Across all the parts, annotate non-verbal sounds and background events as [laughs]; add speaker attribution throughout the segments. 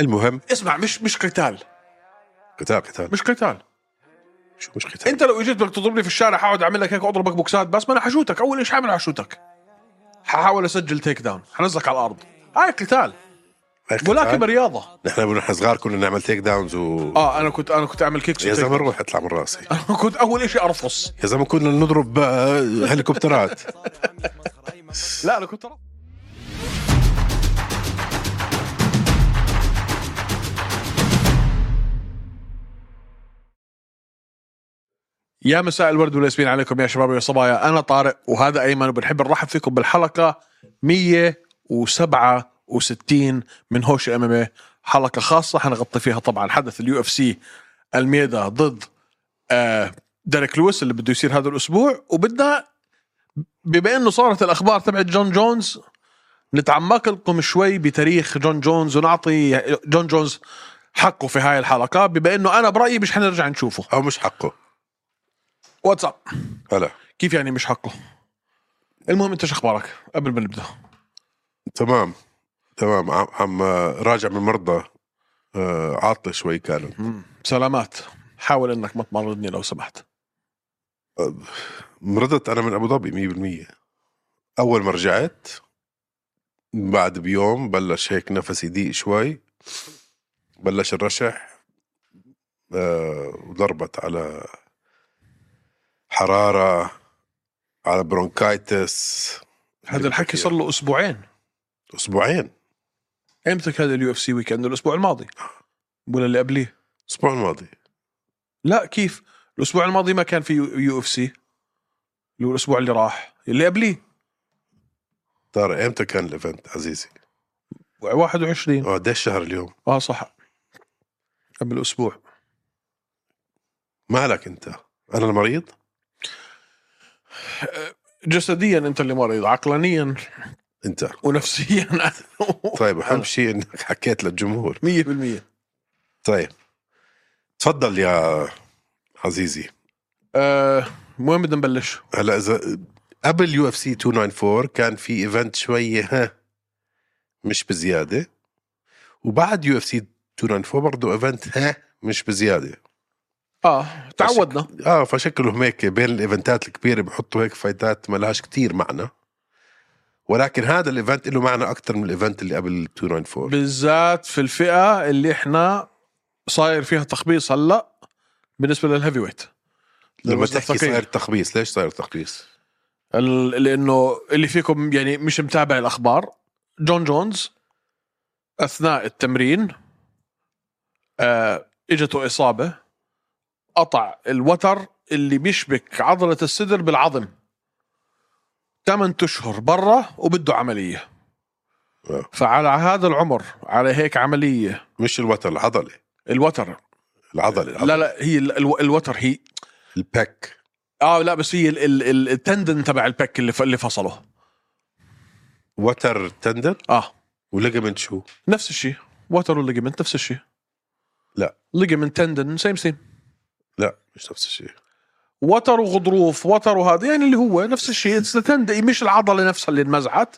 Speaker 1: المهم
Speaker 2: اسمع مش مش قتال
Speaker 1: قتال قتال
Speaker 2: مش قتال
Speaker 1: شو مش قتال
Speaker 2: انت لو اجيت بدك تضربني في الشارع حاقعد اعمل لك هيك اضربك بوكسات بس ما انا حشوتك اول ايش حعمل حشوتك ححاول اسجل تيك داون حنزلك على الارض هاي قتال
Speaker 1: هاي قتال.
Speaker 2: ولكن برياضه
Speaker 1: نحن ونحن صغار كنا نعمل تيك داونز و
Speaker 2: اه انا كنت انا كنت اعمل كيكس
Speaker 1: يا
Speaker 2: وتيك-
Speaker 1: زلمه روح اطلع من راسي
Speaker 2: انا [laughs] كنت اول شيء ارفص
Speaker 1: يا زلمه كنا نضرب آه، هليكوبترات
Speaker 2: لا انا كنت أرفص. يا مساء الورد والياسمين عليكم يا شباب ويا صبايا انا طارق وهذا ايمن وبنحب نرحب فيكم بالحلقه 167 من هوش ام ام حلقه خاصه حنغطي فيها طبعا حدث اليو اف سي الميدا ضد آه، ديريك لويس اللي بده يصير هذا الاسبوع وبدنا بما انه صارت الاخبار تبعت جون جونز نتعمق لكم شوي بتاريخ جون جونز ونعطي جون جونز حقه في هاي الحلقه بما انه انا برايي مش حنرجع نشوفه
Speaker 1: او مش حقه
Speaker 2: واتساب
Speaker 1: هلا
Speaker 2: كيف يعني مش حقه المهم انت شو اخبارك قبل ما نبدا
Speaker 1: تمام تمام عم, عم آه، راجع من مرضى آه، عاطله شوي كانوا
Speaker 2: سلامات حاول انك ما تمرضني لو سمحت
Speaker 1: مرضت انا من ابو ظبي 100% اول ما رجعت بعد بيوم بلش هيك نفسي ضيق شوي بلش الرشح آه، وضربت على حراره على برونكايتس
Speaker 2: هذا الحكي صار له اسبوعين
Speaker 1: اسبوعين
Speaker 2: امتى كان اليو اف سي ويكند الاسبوع الماضي ولا اللي قبليه
Speaker 1: الاسبوع الماضي
Speaker 2: لا كيف الاسبوع الماضي ما كان في يو اف سي اللي هو الاسبوع اللي راح اللي قبليه
Speaker 1: طارق امتى كان الايفنت عزيزي؟
Speaker 2: 21
Speaker 1: اه قديش شهر اليوم؟
Speaker 2: اه صح قبل اسبوع
Speaker 1: مالك انت؟ انا المريض؟
Speaker 2: جسديا انت اللي مريض عقلانيا
Speaker 1: انت
Speaker 2: [laughs] ونفسيا
Speaker 1: طيب
Speaker 2: آه.
Speaker 1: اهم شيء انك [laughs] حكيت للجمهور
Speaker 2: 100%
Speaker 1: طيب تفضل يا عزيزي
Speaker 2: آه، وين بدنا نبلش؟
Speaker 1: هلا اذا قبل يو اف سي 294 كان في ايفنت شوي ها مش بزياده وبعد يو اف سي 294 برضه ايفنت ها مش بزياده
Speaker 2: اه تعودنا
Speaker 1: اه فشكلهم هيك بين الايفنتات الكبيره بحطوا هيك فايتات ما لهاش كثير معنى ولكن هذا الايفنت له معنى اكثر من الايفنت اللي قبل 294
Speaker 2: بالذات في الفئه اللي احنا صاير فيها تخبيص هلا بالنسبه للهيفي ويت
Speaker 1: لما
Speaker 2: الوزن
Speaker 1: تحكي
Speaker 2: الثقيل.
Speaker 1: صاير تخبيص ليش صاير تخبيص؟
Speaker 2: ال- لانه اللي فيكم يعني مش متابع الاخبار جون جونز اثناء التمرين آه اجته اصابه قطع الوتر اللي بيشبك عضله الصدر بالعظم 8 اشهر برا وبده عمليه
Speaker 1: آه.
Speaker 2: فعلى هذا العمر على هيك عمليه
Speaker 1: مش الوتر العضله
Speaker 2: الوتر
Speaker 1: العضله, العضلة.
Speaker 2: لا لا هي ال- الو- الوتر هي
Speaker 1: الباك
Speaker 2: اه لا بس هي ال- ال- ال- التندن تبع البك اللي ف- اللي فصله
Speaker 1: وتر تندر
Speaker 2: اه
Speaker 1: وليجمنت شو؟
Speaker 2: نفس الشيء واتر والليجمنت نفس الشيء
Speaker 1: لا.
Speaker 2: ليجمنت تندن سيم سيم
Speaker 1: لا مش نفس الشيء يعني
Speaker 2: وتر وغضروف وتر وهذا يعني اللي هو نفس الشيء اتس مش العضله نفسها اللي انمزعت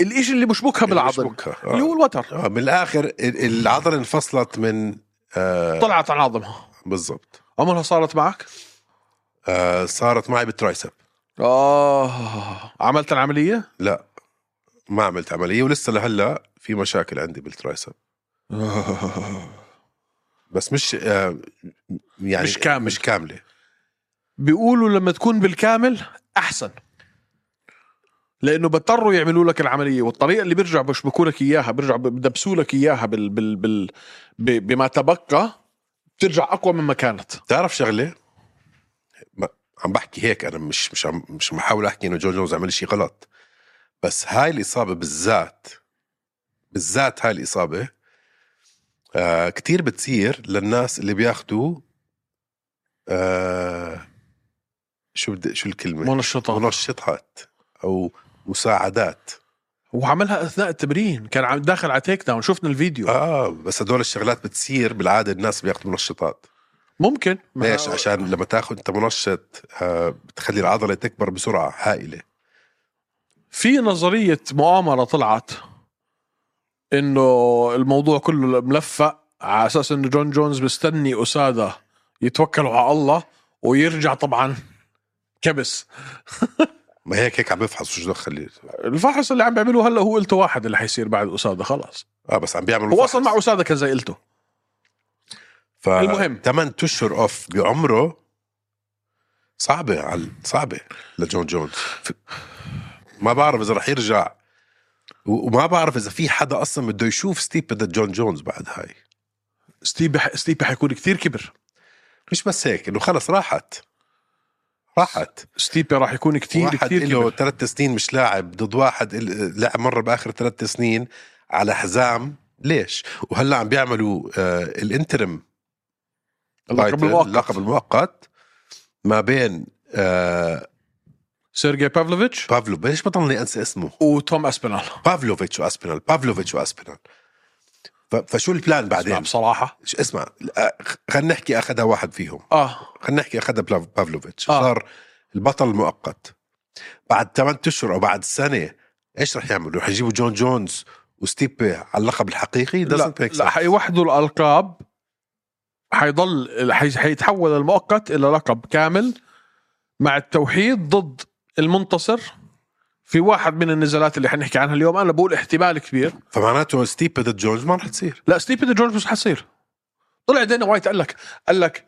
Speaker 2: الإشي اللي بشبكها بالعظم اللي,
Speaker 1: بشبكها.
Speaker 2: اللي هو الوتر
Speaker 1: اه من الاخر ال- العضله انفصلت من آه
Speaker 2: طلعت عن عظمها
Speaker 1: بالضبط
Speaker 2: عمرها صارت معك؟
Speaker 1: آه صارت معي بالترايسب
Speaker 2: اه عملت العمليه؟
Speaker 1: لا ما عملت عمليه ولسه لهلا في مشاكل عندي
Speaker 2: [laughs]
Speaker 1: بالترايسب بس مش آه يعني
Speaker 2: مش كامل.
Speaker 1: مش كامله
Speaker 2: بيقولوا لما تكون بالكامل احسن لانه بضطروا يعملوا لك العمليه والطريقه اللي بيرجع بشبكوا لك اياها بيرجع بدبسوا لك اياها بال بال بال ب- بما تبقى بترجع اقوى مما كانت
Speaker 1: بتعرف شغله ما- عم بحكي هيك انا مش مش عم مش عم بحاول احكي انه جون جونز عمل شيء غلط بس هاي الاصابه بالذات بالذات هاي الاصابه آه كتير بتصير للناس اللي بياخدوا آه شو بدي شو الكلمه
Speaker 2: منشطات
Speaker 1: منشطات او مساعدات
Speaker 2: وعملها اثناء التمرين كان عم داخل على تيك داون شفنا الفيديو
Speaker 1: اه بس هدول الشغلات بتصير بالعاده الناس بياخذوا منشطات
Speaker 2: ممكن ما-
Speaker 1: ليش عشان لما تاخذ انت منشط آه بتخلي العضله تكبر بسرعه هائله
Speaker 2: في نظريه مؤامره طلعت انه الموضوع كله ملفق على اساس انه جون جونز مستني اساده يتوكلوا على الله ويرجع طبعا كبس
Speaker 1: ما هيك هيك عم بفحص شو دخل
Speaker 2: الفحص اللي عم بيعمله هلا هو قلته واحد اللي حيصير بعد اساده خلاص
Speaker 1: اه بس عم بيعمل
Speaker 2: هو اصلا مع اساده كان زي قلته
Speaker 1: ف...
Speaker 2: المهم.
Speaker 1: 8 اشهر اوف بعمره صعبه على صعبه لجون جونز ما بعرف اذا رح يرجع و- وما بعرف اذا في حدا اصلا بده يشوف ستيب ضد جون جونز بعد هاي
Speaker 2: ستيبي ح- ستيبي حيكون كثير كبر
Speaker 1: مش بس هيك انه خلص راحت راحت
Speaker 2: ستيبي راح يكون كثير
Speaker 1: واحد
Speaker 2: كثير
Speaker 1: له
Speaker 2: كبر
Speaker 1: ثلاث سنين مش لاعب ضد واحد ال- لعب مره باخر ثلاث سنين على حزام ليش وهلا عم بيعملوا آه الانترم
Speaker 2: اللقب
Speaker 1: تايتل،
Speaker 2: المؤقت
Speaker 1: اللقب المؤقت ما بين آه
Speaker 2: سيرجي بافلوفيتش
Speaker 1: بافلو ليش بطلني انسى اسمه
Speaker 2: وتوم اسبينال
Speaker 1: بافلوفيتش واسبينال بافلوفيتش واسبينال ف- فشو البلان
Speaker 2: اسمع
Speaker 1: بعدين
Speaker 2: بصراحه
Speaker 1: شو اسمع آه، خلينا نحكي اخذها واحد فيهم
Speaker 2: اه
Speaker 1: خلينا نحكي اخذها بلاف- بافلوفيتش
Speaker 2: آه.
Speaker 1: آه. صار البطل المؤقت بعد 8 اشهر او بعد سنه ايش رح يعملوا؟ رح يجيبوا جون جونز وستيبي على اللقب الحقيقي؟
Speaker 2: لا,
Speaker 1: doesn't make
Speaker 2: لا
Speaker 1: sense.
Speaker 2: حيوحدوا الالقاب حيضل حي- حيتحول المؤقت الى لقب كامل مع التوحيد ضد المنتصر في واحد من النزالات اللي حنحكي عنها اليوم انا بقول احتمال كبير
Speaker 1: فمعناته ستيبي ضد جونز ما رح تصير
Speaker 2: لا ستيبي ضد جورج مش حتصير طلع دينا وايت قال لك قال لك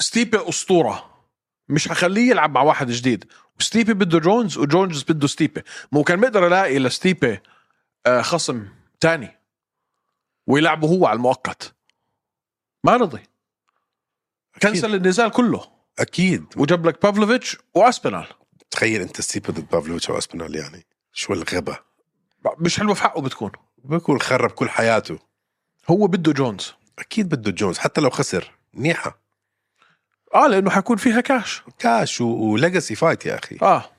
Speaker 2: ستيبي اسطوره مش حخليه يلعب مع واحد جديد وستيبي بده جونز وجونز بده ستيبي مو كان بقدر الاقي لستيبي آه، خصم تاني ويلعبه هو على المؤقت ما رضي كنسل النزال كله
Speaker 1: اكيد
Speaker 2: وجاب لك بافلوفيتش واسبينال
Speaker 1: تخيل انت ستيبي ضد بافلوفيتش واسبينال يعني شو الغبا
Speaker 2: مش حلوه في حقه بتكون
Speaker 1: بكون خرب كل حياته
Speaker 2: هو بده جونز
Speaker 1: اكيد بده جونز حتى لو خسر منيحه
Speaker 2: اه لانه حيكون فيها كاش
Speaker 1: كاش و- وليجاسي فايت يا اخي
Speaker 2: اه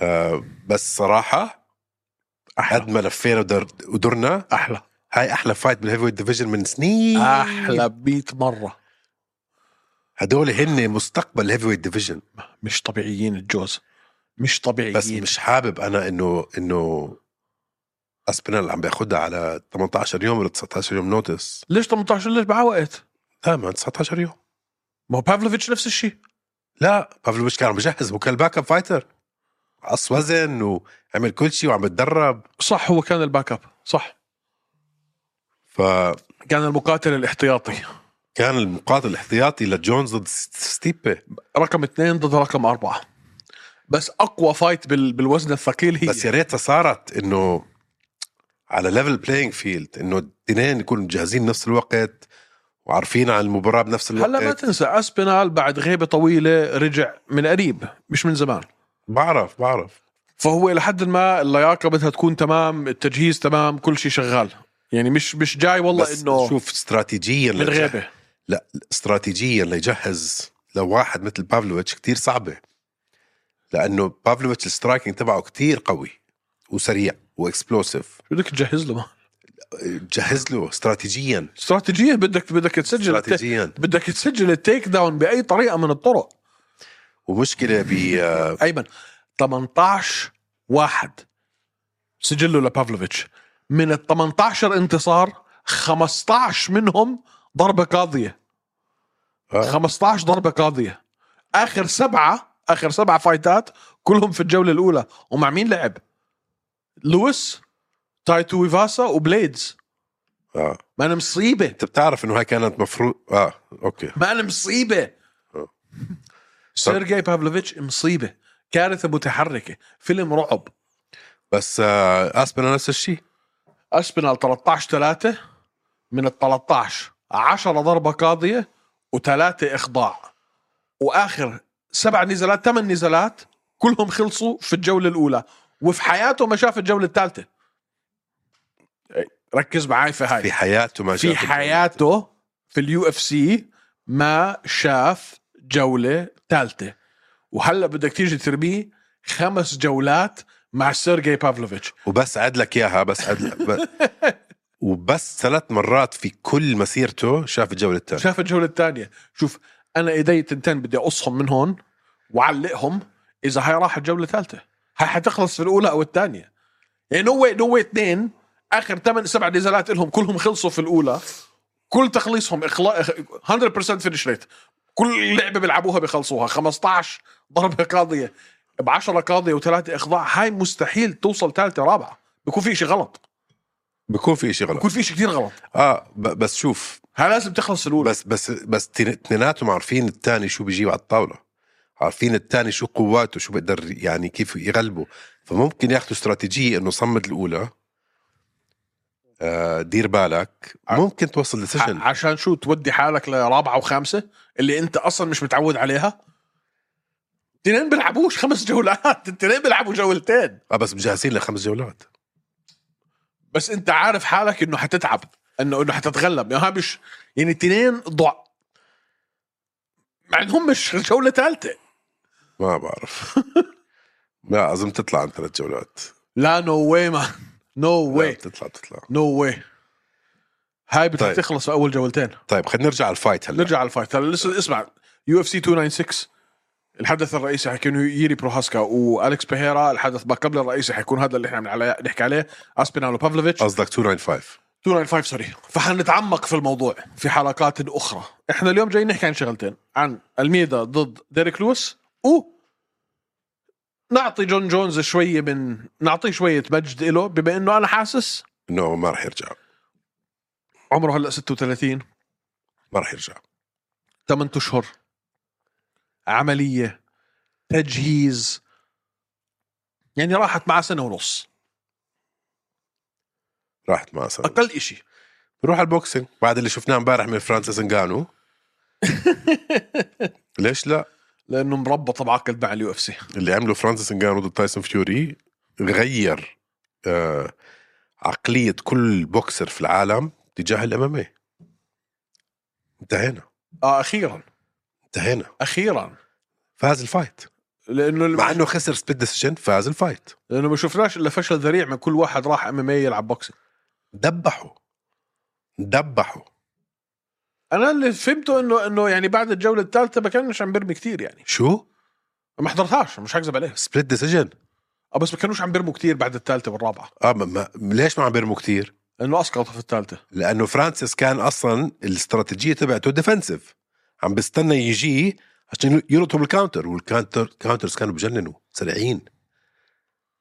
Speaker 1: آه بس صراحه قد ما لفينا ودر- ودرنا
Speaker 2: احلى
Speaker 1: هاي احلى فايت بالهيفي ويت ديفيجن من سنين
Speaker 2: احلى ب 100 مره
Speaker 1: هدول هن مستقبل الهيفي ويت ديفيجن
Speaker 2: مش طبيعيين الجوز مش طبيعيين
Speaker 1: بس مش حابب انا انه انه اسبينال عم بياخدها على 18 يوم ولا 19 يوم نوتس
Speaker 2: ليش 18 ليش معاه وقت؟
Speaker 1: لا ما 19 يوم
Speaker 2: ما هو بافلوفيتش نفس الشيء
Speaker 1: لا بافلوفيتش كان عم بجهز هو كان باك اب فايتر قص وزن وعمل كل شيء وعم بتدرب
Speaker 2: صح هو كان الباك اب صح
Speaker 1: فكان
Speaker 2: كان المقاتل الاحتياطي
Speaker 1: المقاتل الاحتياطي لجونز ضد ستيبي
Speaker 2: رقم اثنين ضد رقم اربعه بس اقوى فايت بال... بالوزن الثقيل هي
Speaker 1: بس يا ريتها صارت انه على ليفل بلاينج فيلد انه الاثنين يكونوا مجهزين بنفس الوقت وعارفين عن المباراه بنفس الوقت
Speaker 2: هلا ما تنسى اسبينال بعد غيبه طويله رجع من قريب مش من زمان
Speaker 1: بعرف بعرف
Speaker 2: فهو الى حد ما اللياقه بدها تكون تمام التجهيز تمام كل شيء شغال يعني مش مش جاي والله
Speaker 1: بس
Speaker 2: انه
Speaker 1: شوف استراتيجيا
Speaker 2: من
Speaker 1: لجه-
Speaker 2: غيبه
Speaker 1: لا استراتيجيا ليجهز لواحد مثل بافلوفيتش كتير صعبه لانه بافلوفيتش السترايكنج تبعه كتير قوي وسريع واكسبلوسيف
Speaker 2: شو بدك تجهز له
Speaker 1: جهز له استراتيجيا
Speaker 2: استراتيجيه بدك بدك تسجل الت-
Speaker 1: استراتيجيا
Speaker 2: بدك تسجل التيك داون باي طريقه من الطرق
Speaker 1: ومشكله ب آه،
Speaker 2: ايمن 18 واحد سجله لبافلوفيتش من ال 18 انتصار 15 منهم ضربه قاضيه
Speaker 1: آه.
Speaker 2: 15 ضربه قاضيه اخر سبعه اخر سبعه فايتات كلهم في الجوله الاولى ومع مين لعب؟ لويس تايتو ويفاسا وبليدز
Speaker 1: آه.
Speaker 2: ما انا مصيبه
Speaker 1: انت بتعرف انه هاي كانت مفروض اه اوكي
Speaker 2: ما انا مصيبه
Speaker 1: آه.
Speaker 2: سيرجي بافلوفيتش مصيبه كارثه متحركه فيلم رعب
Speaker 1: بس آه اسبنا نفس الشيء
Speaker 2: اسبينال 13 3 من ال 13 10 ضربه قاضيه وثلاثه اخضاع واخر سبع نزالات ثمان نزالات كلهم خلصوا في الجوله الاولى وفي حياته ما شاف الجوله الثالثه ركز معي في هاي
Speaker 1: في حياته ما
Speaker 2: في
Speaker 1: شاف-
Speaker 2: حياته في اليو اف سي ما شاف جوله ثالثه وهلا بدك تيجي ترميه خمس جولات مع سيرجي بافلوفيتش
Speaker 1: وبس عد لك اياها بس عد
Speaker 2: [laughs]
Speaker 1: لك ب... وبس ثلاث مرات في كل مسيرته شاف الجوله الثانيه
Speaker 2: شاف الجوله الثانيه شوف انا ايدي تنتين بدي اقصهم من هون وعلقهم اذا هاي راحت جوله ثالثه هاي حتخلص في الاولى او الثانيه يعني نو واي نو واي اثنين اخر ثمان سبع نزالات لهم كلهم خلصوا في الاولى كل تخليصهم اخلاص 100% فينش ريت كل لعبه بيلعبوها بيخلصوها 15 ضربه قاضيه ب 10 قاضيه وثلاثه اخضاع هاي مستحيل توصل ثالثه رابعه بيكون في شيء غلط
Speaker 1: بكون في شيء غلط
Speaker 2: بيكون في شيء كثير غلط
Speaker 1: اه ب- بس شوف
Speaker 2: هاي لازم تخلص الاولى
Speaker 1: بس بس بس تن- اثنيناتهم عارفين الثاني شو بيجيب على الطاوله عارفين الثاني شو قواته شو بيقدر يعني كيف يغلبه فممكن ياخذوا استراتيجيه انه صمد الاولى آه دير بالك
Speaker 2: آه.
Speaker 1: ممكن توصل لسجن
Speaker 2: ع- عشان شو تودي حالك لرابعه وخامسه اللي انت اصلا مش متعود عليها تنين بيلعبوش خمس جولات [laughs] التنين بيلعبوا جولتين
Speaker 1: آه بس مجهزين لخمس جولات
Speaker 2: بس انت عارف حالك انه حتتعب انه انه حتتغلب يعني مش يعني التنين ضع مع انهم مش جوله ثالثه
Speaker 1: ما بعرف لا اظن تطلع عن ثلاث جولات
Speaker 2: لا نو واي مان نو
Speaker 1: لا
Speaker 2: واي
Speaker 1: بتطلع بتطلع
Speaker 2: نو واي هاي بدها
Speaker 1: طيب.
Speaker 2: تخلص في اول جولتين
Speaker 1: طيب خلينا نرجع على الفايت هلا
Speaker 2: نرجع على الفايت هلا لسه اسمع يو اف سي 296 الحدث الرئيسي حيكون ييري بروهاسكا والكس بيهيرا الحدث باك قبل الرئيسي حيكون هذا اللي احنا بنعلى- نحكي عليه اسبينال وبافلوفيتش
Speaker 1: قصدك 295
Speaker 2: 295 سوري فحنتعمق في الموضوع في حلقات اخرى احنا اليوم جايين نحكي عن شغلتين عن الميدا ضد ديريك لويس و نعطي جون جونز شويه من نعطيه شويه مجد له بما انه انا حاسس
Speaker 1: انه ما راح يرجع
Speaker 2: عمره هلا 36
Speaker 1: ما راح يرجع
Speaker 2: 8 اشهر عمليه تجهيز يعني راحت معه سنه ونص
Speaker 1: راحت مع سنة
Speaker 2: اقل إشي
Speaker 1: نروح على البوكسينج بعد اللي شفناه امبارح من فرانسيس انجانو ليش لا
Speaker 2: لانه مربط بعقد مع اليو اف سي
Speaker 1: اللي عمله فرانسيس انجانو ضد تايسون فيوري غير آه عقلية كل بوكسر في العالم تجاه الامامي إيه. انتهينا
Speaker 2: اه اخيرا
Speaker 1: انتهينا
Speaker 2: اخيرا
Speaker 1: فاز الفايت
Speaker 2: لانه
Speaker 1: مع انه خسر سبيد ديسيجن فاز الفايت
Speaker 2: لانه ما شفناش الا فشل ذريع من كل واحد راح ام ام يلعب بوكسينج
Speaker 1: دبحوا دبحوا
Speaker 2: انا اللي فهمته انه انه يعني بعد الجوله الثالثه ما كانش عم بيرمي كثير يعني
Speaker 1: شو؟
Speaker 2: ما حضرتهاش مش حكذب عليه
Speaker 1: سبليت ديسيجن
Speaker 2: اه بس ما كانوش عم بيرموا كثير بعد الثالثه والرابعه
Speaker 1: اه ما ما ليش ما عم بيرموا كتير؟
Speaker 2: لانه اسقطوا في الثالثه
Speaker 1: لانه فرانسيس كان اصلا الاستراتيجيه تبعته ديفنسيف عم بستنى يجي عشان يلطم الكاونتر والكاونتر كاونترز كانوا بجننوا سريعين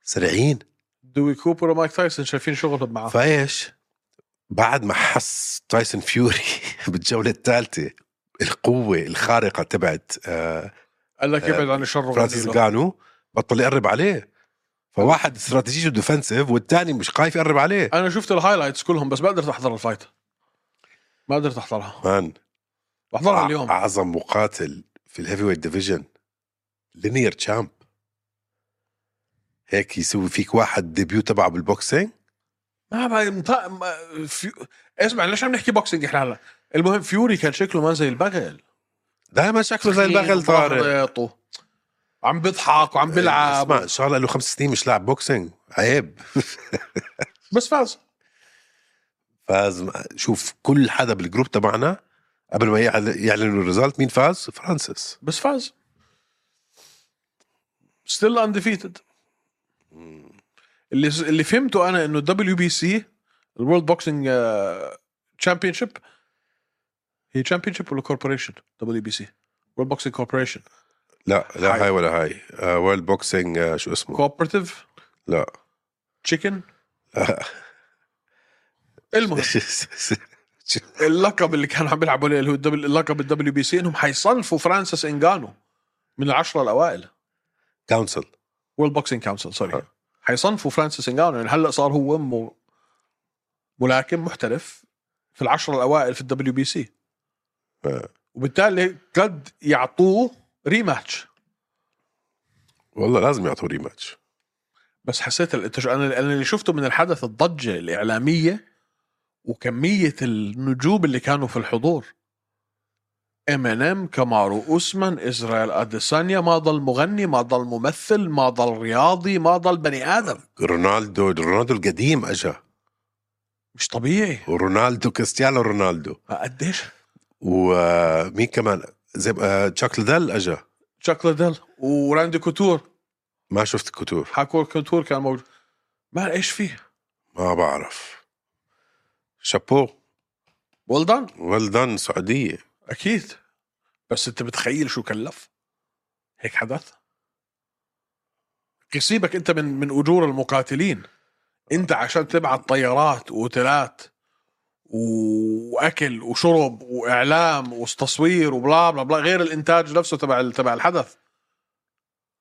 Speaker 1: سريعين
Speaker 2: دوي كوبر ومايك تايسون شايفين شغلهم معاه
Speaker 1: فايش بعد ما حس تايسون فيوري [laughs] بالجوله الثالثه القوه الخارقه تبعت آه،
Speaker 2: قال لك ابعد عن الشر
Speaker 1: فرانسيس
Speaker 2: والنيل.
Speaker 1: جانو بطل يقرب عليه فواحد استراتيجيته ديفنسيف والثاني مش خايف يقرب عليه
Speaker 2: انا شفت الهايلايتس كلهم بس ما قدرت احضر الفايت ما قدرت احضرها
Speaker 1: مان
Speaker 2: بحضرها اليوم
Speaker 1: اعظم مقاتل في الهيفي ويت ديفيجن لينير تشامب هيك يسوي فيك واحد ديبيو تبعه بالبوكسينج
Speaker 2: ما بقى- مط- ما- في... اسمع ليش عم نحكي بوكسينج احنا هلا المهم فيوري كان شكله ما زي البغل
Speaker 1: دائما شكله زي البغل طارق إيه،
Speaker 2: طارق عم بيضحك وعم بيلعب
Speaker 1: اسمع ان شاء الله له خمس سنين مش لاعب بوكسينج عيب
Speaker 2: بس فاز
Speaker 1: فاز شوف كل حدا بالجروب تبعنا قبل ما يعل- يعلنوا الريزلت مين فاز؟ فرانسيس
Speaker 2: بس فاز ستيل انديفيتد اللي اللي فهمته انا انه الدبليو بي سي الورلد بوكسينج تشامبيون شيب آه، هي تشامبيون شيب ولا كوربوريشن دبليو بي سي وورلد بوكسينج كوربوريشن
Speaker 1: لا لا
Speaker 2: هاي.
Speaker 1: هاي, ولا هاي آه وورلد بوكسينج آه شو اسمه
Speaker 2: كوبرتيف
Speaker 1: لا
Speaker 2: تشيكن المهم اللقب اللي كانوا عم بيلعبوا عليه اللي هو الدبل- اللقب الدبليو بي سي انهم حيصنفوا فرانسيس انجانو من العشره الاوائل
Speaker 1: كونسل
Speaker 2: وورلد بوكسينج كونسل سوري
Speaker 1: آه.
Speaker 2: حيصنفوا فرانسيس انجانو يعني هلا صار هو م- ملاكم محترف في العشره الاوائل في الدبليو بي سي
Speaker 1: آه.
Speaker 2: وبالتالي قد يعطوه ريماتش
Speaker 1: والله لازم يعطوه ريماتش
Speaker 2: بس حسيت الانتش... انا انا اللي شفته من الحدث الضجه الاعلاميه وكميه النجوم اللي كانوا في الحضور ام ان ام كامارو اسمن اسرائيل اديسانيا ما ضل مغني ما ضل ممثل ما ضل رياضي ما ضل بني ادم
Speaker 1: رونالدو رونالدو القديم اجا
Speaker 2: مش طبيعي
Speaker 1: ورونالدو كريستيانو رونالدو
Speaker 2: قديش
Speaker 1: ومين كمان زي آه، تشاك ليدل اجا
Speaker 2: شاك ليدل وراندي كوتور
Speaker 1: ما شفت كوتور
Speaker 2: حكور كوتور كان موجود ما ايش فيه
Speaker 1: ما بعرف شابو
Speaker 2: ويل دان
Speaker 1: ويل دان سعوديه
Speaker 2: اكيد بس انت بتخيل شو كلف هيك حدث يصيبك انت من من اجور المقاتلين انت عشان تبعت طيارات واوتيلات واكل وشرب واعلام وتصوير وبلا بلا بلا غير الانتاج نفسه تبع تبع الحدث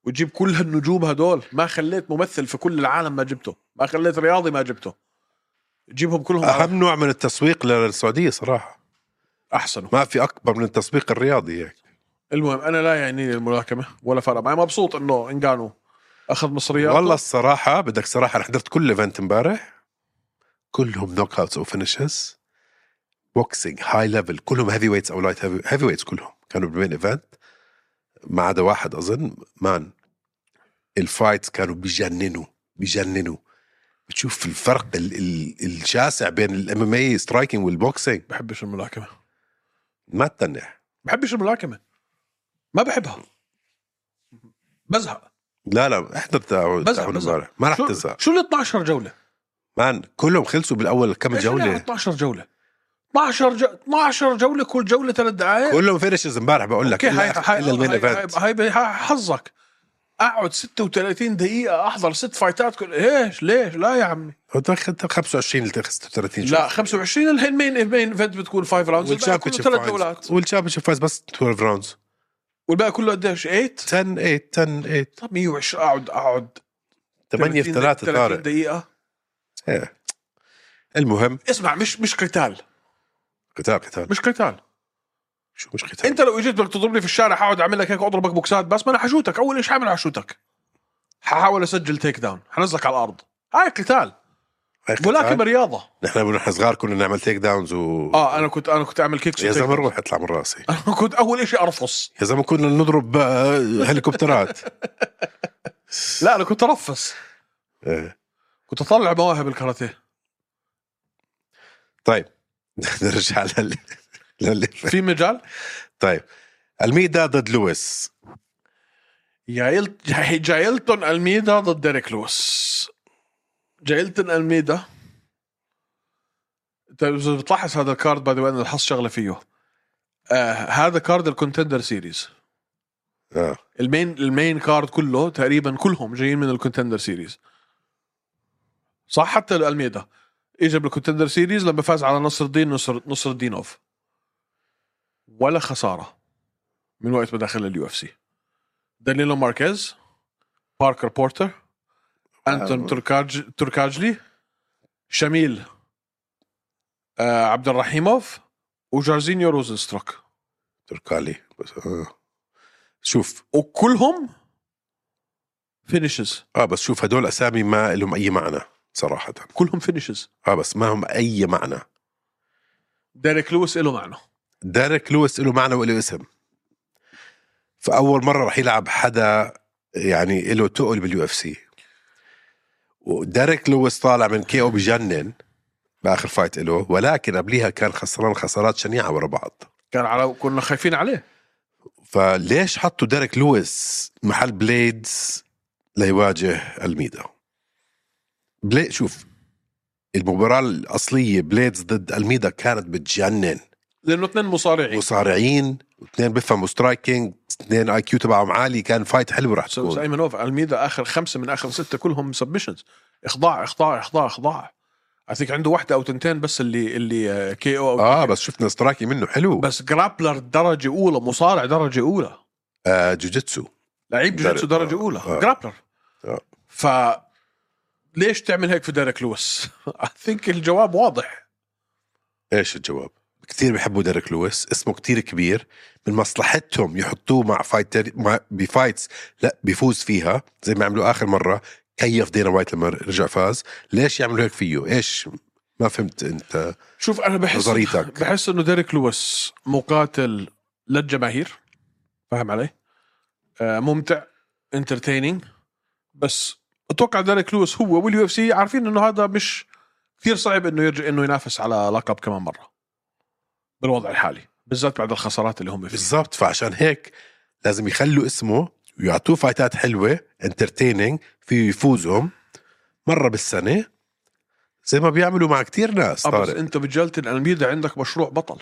Speaker 2: وتجيب كل هالنجوم هدول ما خليت ممثل في كل العالم ما جبته ما خليت رياضي ما جبته جيبهم كلهم على-
Speaker 1: اهم نوع من التسويق للسعوديه صراحه
Speaker 2: احسنوا
Speaker 1: ما في اكبر من التسويق الرياضي هيك
Speaker 2: المهم انا لا يعنيني الملاكمه ولا فرق معي مبسوط انه انجانو اخذ مصريات
Speaker 1: والله الصراحه بدك صراحه انا حضرت كل ايفنت امبارح كلهم نوك اوتس او فينيشز بوكسينج هاي ليفل كلهم هيفي ويتس او لايت هيفي ويتس كلهم كانوا بالمين ايفنت ما عدا واحد اظن مان الفايتس كانوا بجننوا بجننوا بتشوف الفرق ال ال الشاسع بين الام ام اي سترايكنج والبوكسينج
Speaker 2: بحبش الملاكمه
Speaker 1: ما تتنح
Speaker 2: بحبش الملاكمه ما بحبها بزهق
Speaker 1: لا لا احضر تاعون
Speaker 2: بزهق،
Speaker 1: تاعون
Speaker 2: بزهق.
Speaker 1: امبارح ما رح
Speaker 2: شو-
Speaker 1: تزهق
Speaker 2: شو ال 12 جوله؟
Speaker 1: مان كلهم خلصوا بالاول كم
Speaker 2: إيش يعني اللي على
Speaker 1: جوله
Speaker 2: 12 جوله 12 جو... 12 جوله كل جوله ثلاث دقائق
Speaker 1: كلهم فينشز امبارح بقول لك
Speaker 2: اوكي هاي
Speaker 1: الا
Speaker 2: هاي
Speaker 1: إلا المين
Speaker 2: هاي-
Speaker 1: ايفنت
Speaker 2: هاي هاي حظك اقعد 36 دقيقه احضر ست فايتات كل ايش ليش لا يا عمي
Speaker 1: انت اخذت 25 ل 36
Speaker 2: لا 25 الحين مين المين ايفنت بتكون 5 راوندز الباقي كله
Speaker 1: والشامبيونشيب
Speaker 2: ثلاث جولات
Speaker 1: والشامبيونشيب فايز بس 12 راوندز
Speaker 2: والباقي كله قديش 8
Speaker 1: 10 8 10 8
Speaker 2: طب 120 اقعد اقعد
Speaker 1: 8 في 3
Speaker 2: 30
Speaker 1: طارق
Speaker 2: دقيقة
Speaker 1: إيه. المهم
Speaker 2: اسمع مش مش قتال
Speaker 1: قتال قتال
Speaker 2: مش قتال
Speaker 1: شو مش قتال
Speaker 2: انت لو اجيت بدك تضربني في الشارع حقعد اعمل لك هيك اضربك بوكسات بس ما انا حشوتك اول شيء حعمل حشوتك ححاول اسجل تيك داون حنزلك على الارض هاي قتال
Speaker 1: هاي قتال؟
Speaker 2: ملاكمة رياضة
Speaker 1: نحن ونحن صغار كنا نعمل تيك داونز و
Speaker 2: اه انا كنت انا كنت اعمل كيكس
Speaker 1: يا
Speaker 2: وتيك
Speaker 1: زلمه
Speaker 2: داون. [laughs]
Speaker 1: روح اطلع من راسي
Speaker 2: انا كنت اول شيء ارفص
Speaker 1: يا زلمه كنا نضرب آه، هليكوبترات
Speaker 2: [laughs] لا انا كنت ارفص
Speaker 1: إيه.
Speaker 2: كنت اطلع مواهب الكاراتيه
Speaker 1: طيب [laughs] نرجع لل لل
Speaker 2: في مجال
Speaker 1: طيب الميدا ضد لويس
Speaker 2: جايلت جاي- جايلتون الميدا ضد ديريك لويس جايلتون الميدا انت اذا بتلاحظ هذا الكارد باي ذا انا لاحظت شغله فيه آه هذا كارد الكونتندر سيريز
Speaker 1: اه
Speaker 2: المين المين كارد كله تقريبا كلهم جايين من الكونتندر سيريز صح حتى الميدا اجى بالكونتندر سيريز لما فاز على نصر الدين نصر نصر الدين اوف ولا خساره من وقت ما دخل اليو اف سي دانيلو ماركيز باركر بورتر انتون
Speaker 1: آه.
Speaker 2: تركاج تركاجلي شميل آه عبد الرحيموف وجارزينيو روزنستروك
Speaker 1: تركالي بس آه. شوف
Speaker 2: وكلهم فينيشز
Speaker 1: اه بس شوف هدول اسامي ما لهم اي معنى صراحه
Speaker 2: كلهم فينيشز
Speaker 1: اه بس ما هم اي معنى
Speaker 2: ديريك لويس له معنى
Speaker 1: ديريك لويس له معنى وله اسم فاول مره راح يلعب حدا يعني له تقل باليو اف سي وديريك لويس طالع من كي او بجنن باخر فايت له ولكن قبليها كان خسران خسارات شنيعه ورا بعض
Speaker 2: كان على كنا خايفين عليه
Speaker 1: فليش حطوا ديريك لويس محل بليدز ليواجه الميدا بلي شوف المباراة الأصلية بليدز ضد الميدا كانت بتجنن
Speaker 2: لانه اثنين مصارعين
Speaker 1: مصارعين اثنين بيفهموا سترايكينج اثنين اي كيو تبعهم عالي كان فايت حلو راح
Speaker 2: سو-
Speaker 1: تكون
Speaker 2: سايمنوف الميدا اخر خمسه من اخر سته كلهم سبمشنز اخضاع اخضاع اخضاع اخضاع اثيك عنده واحده او تنتين بس اللي اللي كي او أو
Speaker 1: اه بس شفنا سترايكينج منه حلو
Speaker 2: بس جرابلر درجه اولى مصارع درجه اولى
Speaker 1: آه جوجيتسو
Speaker 2: لعيب جوجيتسو
Speaker 1: در-
Speaker 2: درجه اولى
Speaker 1: آه.
Speaker 2: جرابلر
Speaker 1: آه.
Speaker 2: ف ليش تعمل هيك في ديريك لويس؟ [laughs] اي ثينك الجواب واضح
Speaker 1: ايش الجواب؟ كثير بحبوا ديريك لويس اسمه كثير كبير من مصلحتهم يحطوه مع فايتر مع بفايتس لا بيفوز فيها زي ما عملوا اخر مره كيف دينا وايت لما رجع فاز ليش يعملوا هيك فيه ايش ما فهمت انت
Speaker 2: شوف انا بحس
Speaker 1: نظريتك.
Speaker 2: بحس انه ديريك لويس مقاتل للجماهير فاهم علي؟ آه ممتع انترتيننج بس اتوقع ديريك لويس هو واليو اف سي عارفين انه هذا مش كثير صعب انه يرجع انه ينافس على لقب كمان مره بالوضع الحالي بالذات بعد الخسارات اللي هم فيها
Speaker 1: بالضبط فعشان هيك لازم يخلوا اسمه ويعطوه فايتات حلوه انترتيننج فيه يفوزهم مره بالسنه زي ما بيعملوا مع كتير ناس
Speaker 2: آه، بس
Speaker 1: طارق
Speaker 2: انت بجلتن الميدا عندك مشروع بطل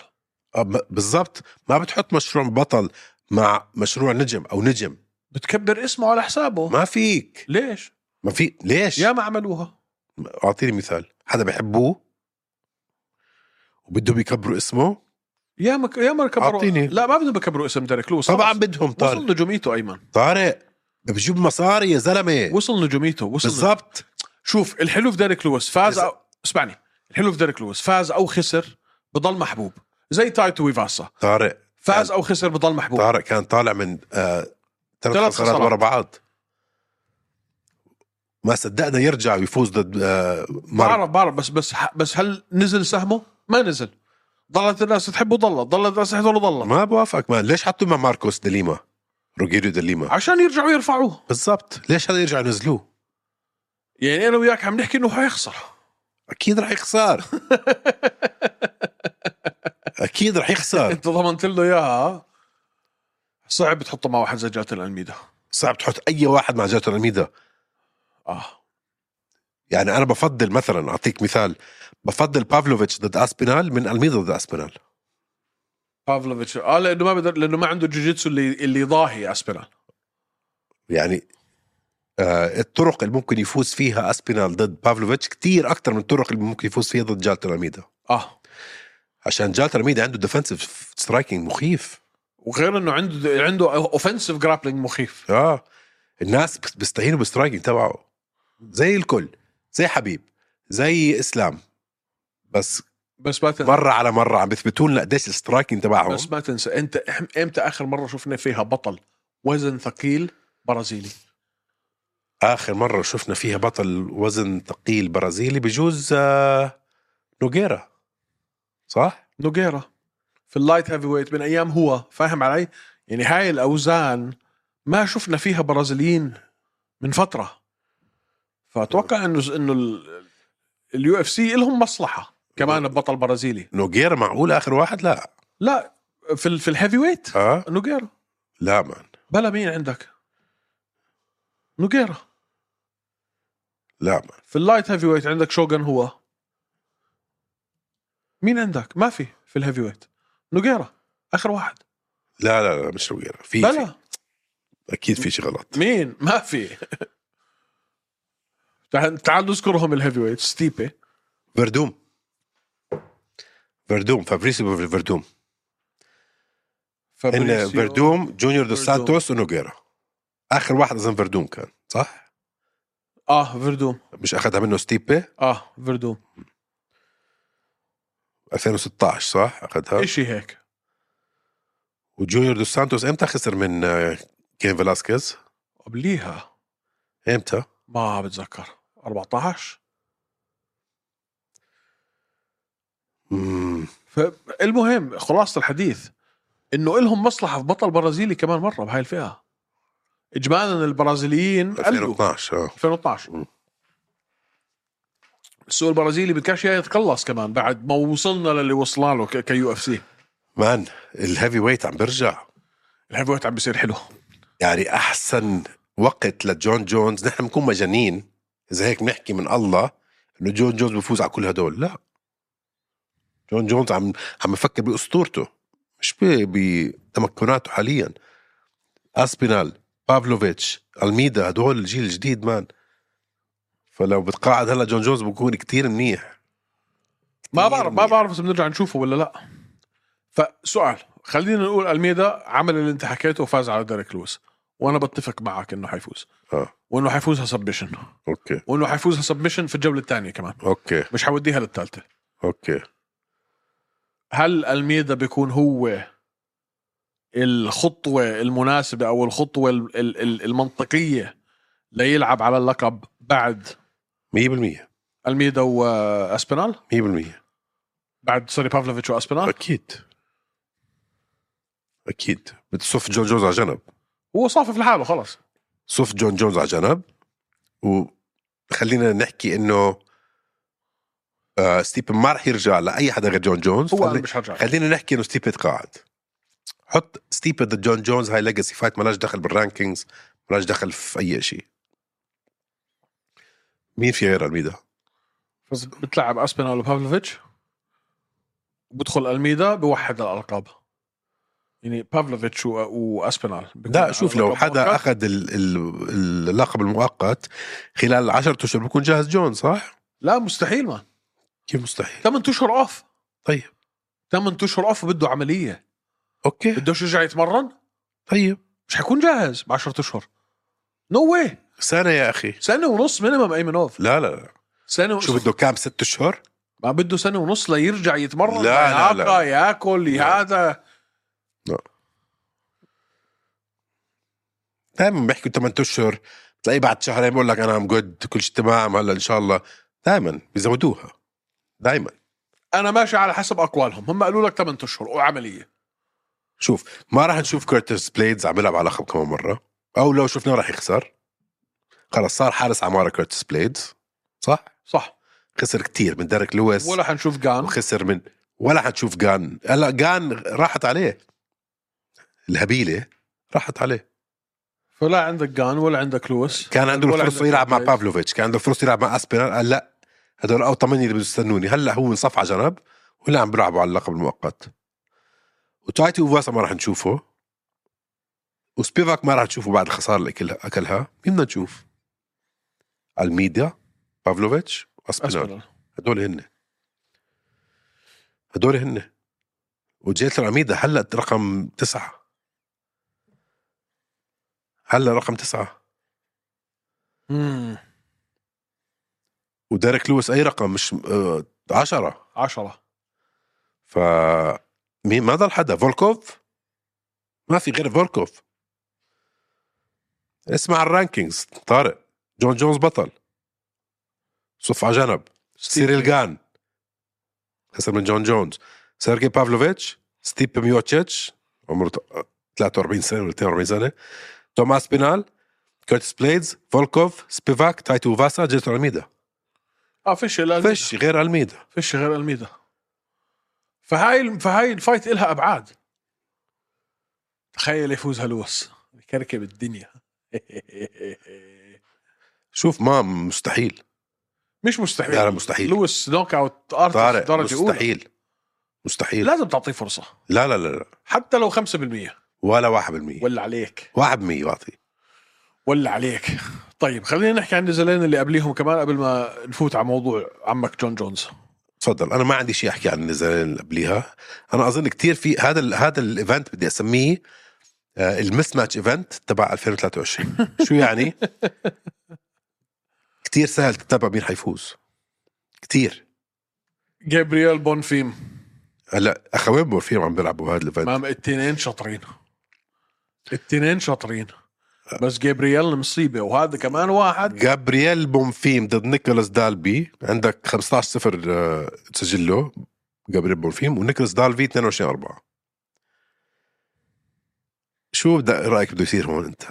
Speaker 1: آه، ب- بالضبط ما بتحط مشروع بطل مع مشروع نجم او نجم
Speaker 2: بتكبر اسمه على حسابه
Speaker 1: ما فيك
Speaker 2: ليش؟
Speaker 1: ما في ليش
Speaker 2: يا ما عملوها
Speaker 1: اعطيني مثال حدا بحبوه وبدهم يكبروا اسمه
Speaker 2: يا ما يا ما كبروا
Speaker 1: أعطيني.
Speaker 2: لا ما بدهم يكبروا اسم ديريك لويس
Speaker 1: طبعا
Speaker 2: خلص.
Speaker 1: بدهم طارق
Speaker 2: وصل نجوميته ايمن
Speaker 1: طارق بجيب مصاري يا زلمه
Speaker 2: وصل نجوميته وصل
Speaker 1: يعني. بالضبط
Speaker 2: شوف الحلو في ديريك لويس فاز
Speaker 1: إذا-
Speaker 2: أو... اسمعني الحلو في ديريك لويس فاز او خسر بضل محبوب زي تايتو ويفاسا
Speaker 1: طارق
Speaker 2: فاز او خسر بضل محبوب
Speaker 1: طارق كان طالع من آه ثلاث خسارات
Speaker 2: ثلاث خسارات.
Speaker 1: ورا بعض ما صدقنا يرجع ويفوز ضد آه مارك
Speaker 2: بعرف بعرف بس بس بس هل نزل سهمه؟ ما نزل ضلت الناس تحبه ضلت ضلت الناس تحضره ضلت
Speaker 1: ما بوافقك مان ليش حطوا مع ماركوس دليما روجيريو دليما
Speaker 2: عشان يرجعوا يرفعوه
Speaker 1: بالضبط ليش هذا يرجع ينزلوه
Speaker 2: يعني انا وياك عم نحكي انه حيخسر
Speaker 1: اكيد رح يخسر اكيد رح يخسر
Speaker 2: انت ضمنت له اياها صعب تحطه مع واحد زي جاتل الميدا
Speaker 1: صعب تحط اي واحد مع جاتون الميدا
Speaker 2: اه
Speaker 1: يعني انا بفضل مثلا اعطيك مثال بفضل بافلوفيتش ضد اسبينال من الميدا ضد اسبينال
Speaker 2: بافلوفيتش اه لانه ما بقدر لانه ما عنده جوجيتسو اللي اللي يضاهي اسبينال
Speaker 1: يعني آه الطرق اللي ممكن يفوز فيها اسبينال ضد بافلوفيتش كتير اكثر من الطرق اللي ممكن يفوز فيها ضد جالتر الميدا
Speaker 2: اه
Speaker 1: عشان جالتر الميدا عنده ديفنسيف سترايكنج مخيف
Speaker 2: وغير انه عنده عنده اوفنسيف جرابلينج مخيف
Speaker 1: اه الناس بس- بيستهينوا بالسترايكنج تبعه زي الكل زي حبيب زي اسلام بس
Speaker 2: بس ما تنسى
Speaker 1: مره على مره عم بيثبتوا لنا قديش السترايكنج تبعهم
Speaker 2: بس ما تنسى انت إح- امتى اخر مره شفنا فيها بطل وزن ثقيل برازيلي
Speaker 1: اخر مره شفنا فيها بطل وزن ثقيل برازيلي بجوز آه، نوغيرا صح؟
Speaker 2: نوغيرا في اللايت هيفي ويت من ايام هو فاهم علي؟ يعني هاي الاوزان ما شفنا فيها برازيليين من فتره فاتوقع انه انه اليو اف سي لهم مصلحه كمان ببطل برازيلي
Speaker 1: نوغيرا معقول اخر واحد؟ لا
Speaker 2: لا في ال- في الهيفي ويت
Speaker 1: اه
Speaker 2: نوغيرا
Speaker 1: لا مان
Speaker 2: بلا مين عندك نوغيرا
Speaker 1: لا مان
Speaker 2: في اللايت هيفي ويت عندك شوغان هو مين عندك ما في في الهيفي ويت نوغيرا اخر واحد
Speaker 1: لا لا لا مش نوغيرا في, في
Speaker 2: بلا
Speaker 1: اكيد في شيء غلط
Speaker 2: مين ما في [laughs] تعال تعال نذكرهم الهيفي ويت ستيبي
Speaker 1: فردوم فردوم فابريسيو فردوم هن
Speaker 2: فابريسيو.
Speaker 1: فردوم جونيور دو
Speaker 2: فردوم.
Speaker 1: سانتوس ونوغيرا اخر واحد اظن فردوم كان صح؟
Speaker 2: اه فردوم
Speaker 1: مش اخذها منه ستيبي
Speaker 2: اه فردوم
Speaker 1: 2016 صح؟ اخذها
Speaker 2: اشي هيك
Speaker 1: وجونيور دو سانتوس امتى خسر من آه، كين فلاسكيز؟
Speaker 2: قبليها
Speaker 1: امتى؟
Speaker 2: ما بتذكر 14
Speaker 1: مم.
Speaker 2: فالمهم خلاصه الحديث انه إلهم مصلحه في بطل برازيلي كمان مره بهاي الفئه اجمالا البرازيليين قلوا
Speaker 1: 2012 اه
Speaker 2: 2012
Speaker 1: مم.
Speaker 2: السوق البرازيلي بدكاش إياه يتقلص كمان بعد ما وصلنا للي وصلنا له كيو اف سي
Speaker 1: مان الهيفي ويت عم برجع
Speaker 2: الهيفي ويت عم بيصير حلو
Speaker 1: يعني احسن وقت لجون جونز نحن بنكون مجانين اذا هيك بنحكي من الله انه جون جونز بفوز على كل هدول لا جون جونز عم عم بفكر باسطورته مش ب- بتمكناته حاليا اسبينال بافلوفيتش الميدا هدول الجيل الجديد مان فلو بتقاعد هلا جون جونز بكون كتير منيح
Speaker 2: ما
Speaker 1: كتير
Speaker 2: بعرف ما
Speaker 1: منيح.
Speaker 2: بعرف اذا بنرجع نشوفه ولا لا فسؤال خلينا نقول الميدا عمل اللي انت حكيته وفاز على ديريك لويس وانا بتفق معك انه حيفوز
Speaker 1: اه
Speaker 2: وانه حيفوزها سبمشن
Speaker 1: اوكي
Speaker 2: وانه حيفوزها سبمشن في الجوله الثانيه كمان
Speaker 1: اوكي
Speaker 2: مش حوديها للثالثه
Speaker 1: اوكي
Speaker 2: هل الميدا بيكون هو الخطوة المناسبة أو الخطوة ال- ال- ال- المنطقية ليلعب على اللقب بعد
Speaker 1: 100%
Speaker 2: الميدا وأسبينال
Speaker 1: 100%
Speaker 2: بعد سوري بافلوفيتش وأسبينال
Speaker 1: اكيد اكيد بتصف جون جونز على جنب
Speaker 2: هو صافي في حاله خلص
Speaker 1: صف جون جونز على جنب وخلينا نحكي انه آه ستيبن ما رح يرجع لاي حدا غير جون جونز
Speaker 2: هو أنا
Speaker 1: خلي-
Speaker 2: مش هرجع
Speaker 1: خلينا نحكي انه ستيبن تقاعد حط ستيبن ضد جون جونز هاي ليجاسي فايت ملاش دخل بالرانكينجز ملاش دخل في اي شيء مين في غير الميدا؟
Speaker 2: فز- بتلعب اسبينال وبافلوفيتش بدخل الميدا بوحد الالقاب يعني بافلوفيتش و- واسبينال بيكون
Speaker 1: لا شوف لو
Speaker 2: الألقاب
Speaker 1: حدا
Speaker 2: مؤقت.
Speaker 1: اخذ ال- ال- اللقب المؤقت خلال 10 اشهر بكون جاهز جون صح؟
Speaker 2: لا مستحيل ما
Speaker 1: كيف مستحيل؟
Speaker 2: 8 اشهر اوف
Speaker 1: طيب
Speaker 2: 8 اشهر اوف بده عمليه
Speaker 1: اوكي
Speaker 2: بدوش يرجع يتمرن
Speaker 1: طيب
Speaker 2: مش حيكون جاهز ب 10 اشهر نو واي
Speaker 1: سنه يا اخي
Speaker 2: سنه ونص مينيمم ايمنوف
Speaker 1: لا لا لا
Speaker 2: سنه
Speaker 1: شو
Speaker 2: ونص
Speaker 1: بده كام ست اشهر؟
Speaker 2: ما بده سنه ونص ليرجع يتمرن
Speaker 1: لا، لا،
Speaker 2: يعاقى،
Speaker 1: لا.
Speaker 2: ياكل
Speaker 1: لا.
Speaker 2: هذا
Speaker 1: دائما بيحكوا 8 اشهر بتلاقيه بعد شهرين بقول لك انا ام جود كل شيء تمام هلا ان شاء الله دائما بيزودوها دائما
Speaker 2: انا ماشي على حسب اقوالهم هم قالوا لك 8 اشهر وعمليه
Speaker 1: شوف ما راح نشوف كورتس بليدز عم يلعب على لقب كمان مره او لو شفناه راح يخسر خلص صار حارس عماره كورتس بليدز صح؟
Speaker 2: صح
Speaker 1: خسر كتير من ديريك لويس
Speaker 2: ولا حنشوف جان
Speaker 1: وخسر من ولا حتشوف جان هلا جان راحت عليه الهبيله راحت عليه
Speaker 2: فلا عندك جان ولا عندك لويس
Speaker 1: كان عنده
Speaker 2: ولا
Speaker 1: الفرصه
Speaker 2: عندك
Speaker 1: يلعب مع
Speaker 2: بليدز.
Speaker 1: بافلوفيتش كان عنده الفرصه يلعب مع اسبينال قال لا هدول او ثمانيه اللي بيستنوني هلا هو انصف على جنب ولا عم بيلعبوا على اللقب المؤقت وتايتي وفاسا ما راح نشوفه وسبيفاك ما راح تشوفه بعد الخساره اللي أكلها- اكلها مين بدنا نشوف؟ الميديا بافلوفيتش اسبينال
Speaker 2: أسبينال.
Speaker 1: هدول هن هدول هن وجيت العميدة هلا رقم تسعة هلا رقم تسعة
Speaker 2: مم.
Speaker 1: وديريك لويس أي رقم مش آه عشرة
Speaker 2: عشرة
Speaker 1: ف مين ما ضل حدا فولكوف ما في غير فولكوف اسمع الرانكينجز طارق جون جونز بطل صف على جنب سيريل جان خسر من جون جونز سيرجي بافلوفيتش ستيب ميوتشيتش عمره ت- آه، 43 سنه ولا 42 سنه توماس بينال كورتس بليدز فولكوف سبيفاك تايتو فاسا جيت الميدا
Speaker 2: اه فيش لا
Speaker 1: فيش غير الميدا
Speaker 2: فيش غير الميدا فهاي فهاي الفايت إلها ابعاد تخيل يفوز هلوس كركب الدنيا [laughs]
Speaker 1: شوف ما مستحيل
Speaker 2: مش مستحيل
Speaker 1: لا، لا، مستحيل.
Speaker 2: لويس نوك اوت ارتست
Speaker 1: طارق
Speaker 2: درجه اولى
Speaker 1: مستحيل مستحيل
Speaker 2: لازم تعطيه فرصه
Speaker 1: لا لا لا, لا.
Speaker 2: حتى لو 5%
Speaker 1: ولا 1%
Speaker 2: ولا عليك
Speaker 1: 1% واطي
Speaker 2: ولا عليك [laughs] طيب خلينا نحكي عن النزالين اللي قبليهم كمان قبل ما نفوت على موضوع عمك جون جونز
Speaker 1: تفضل انا ما عندي شيء احكي عن النزالين اللي قبليها انا اظن كتير في هذا ال هذا الايفنت بدي اسميه آه، المس ماتش ايفنت تبع 2023 شو يعني كتير سهل تتبع مين حيفوز كتير
Speaker 2: جابرييل بونفيم
Speaker 1: هلا اخوين مورفيم عم بيلعبوا هذا الايفنت
Speaker 2: مام التنين شاطرين التنين شاطرين بس جابرييل مصيبه وهذا كمان واحد
Speaker 1: جابرييل بونفيم ضد نيكولاس دالبي عندك 15 صفر آه، تسجله جابرييل بونفيم ونيكولاس دالبي 22 4 شو بدأ رايك بده يصير هون انت؟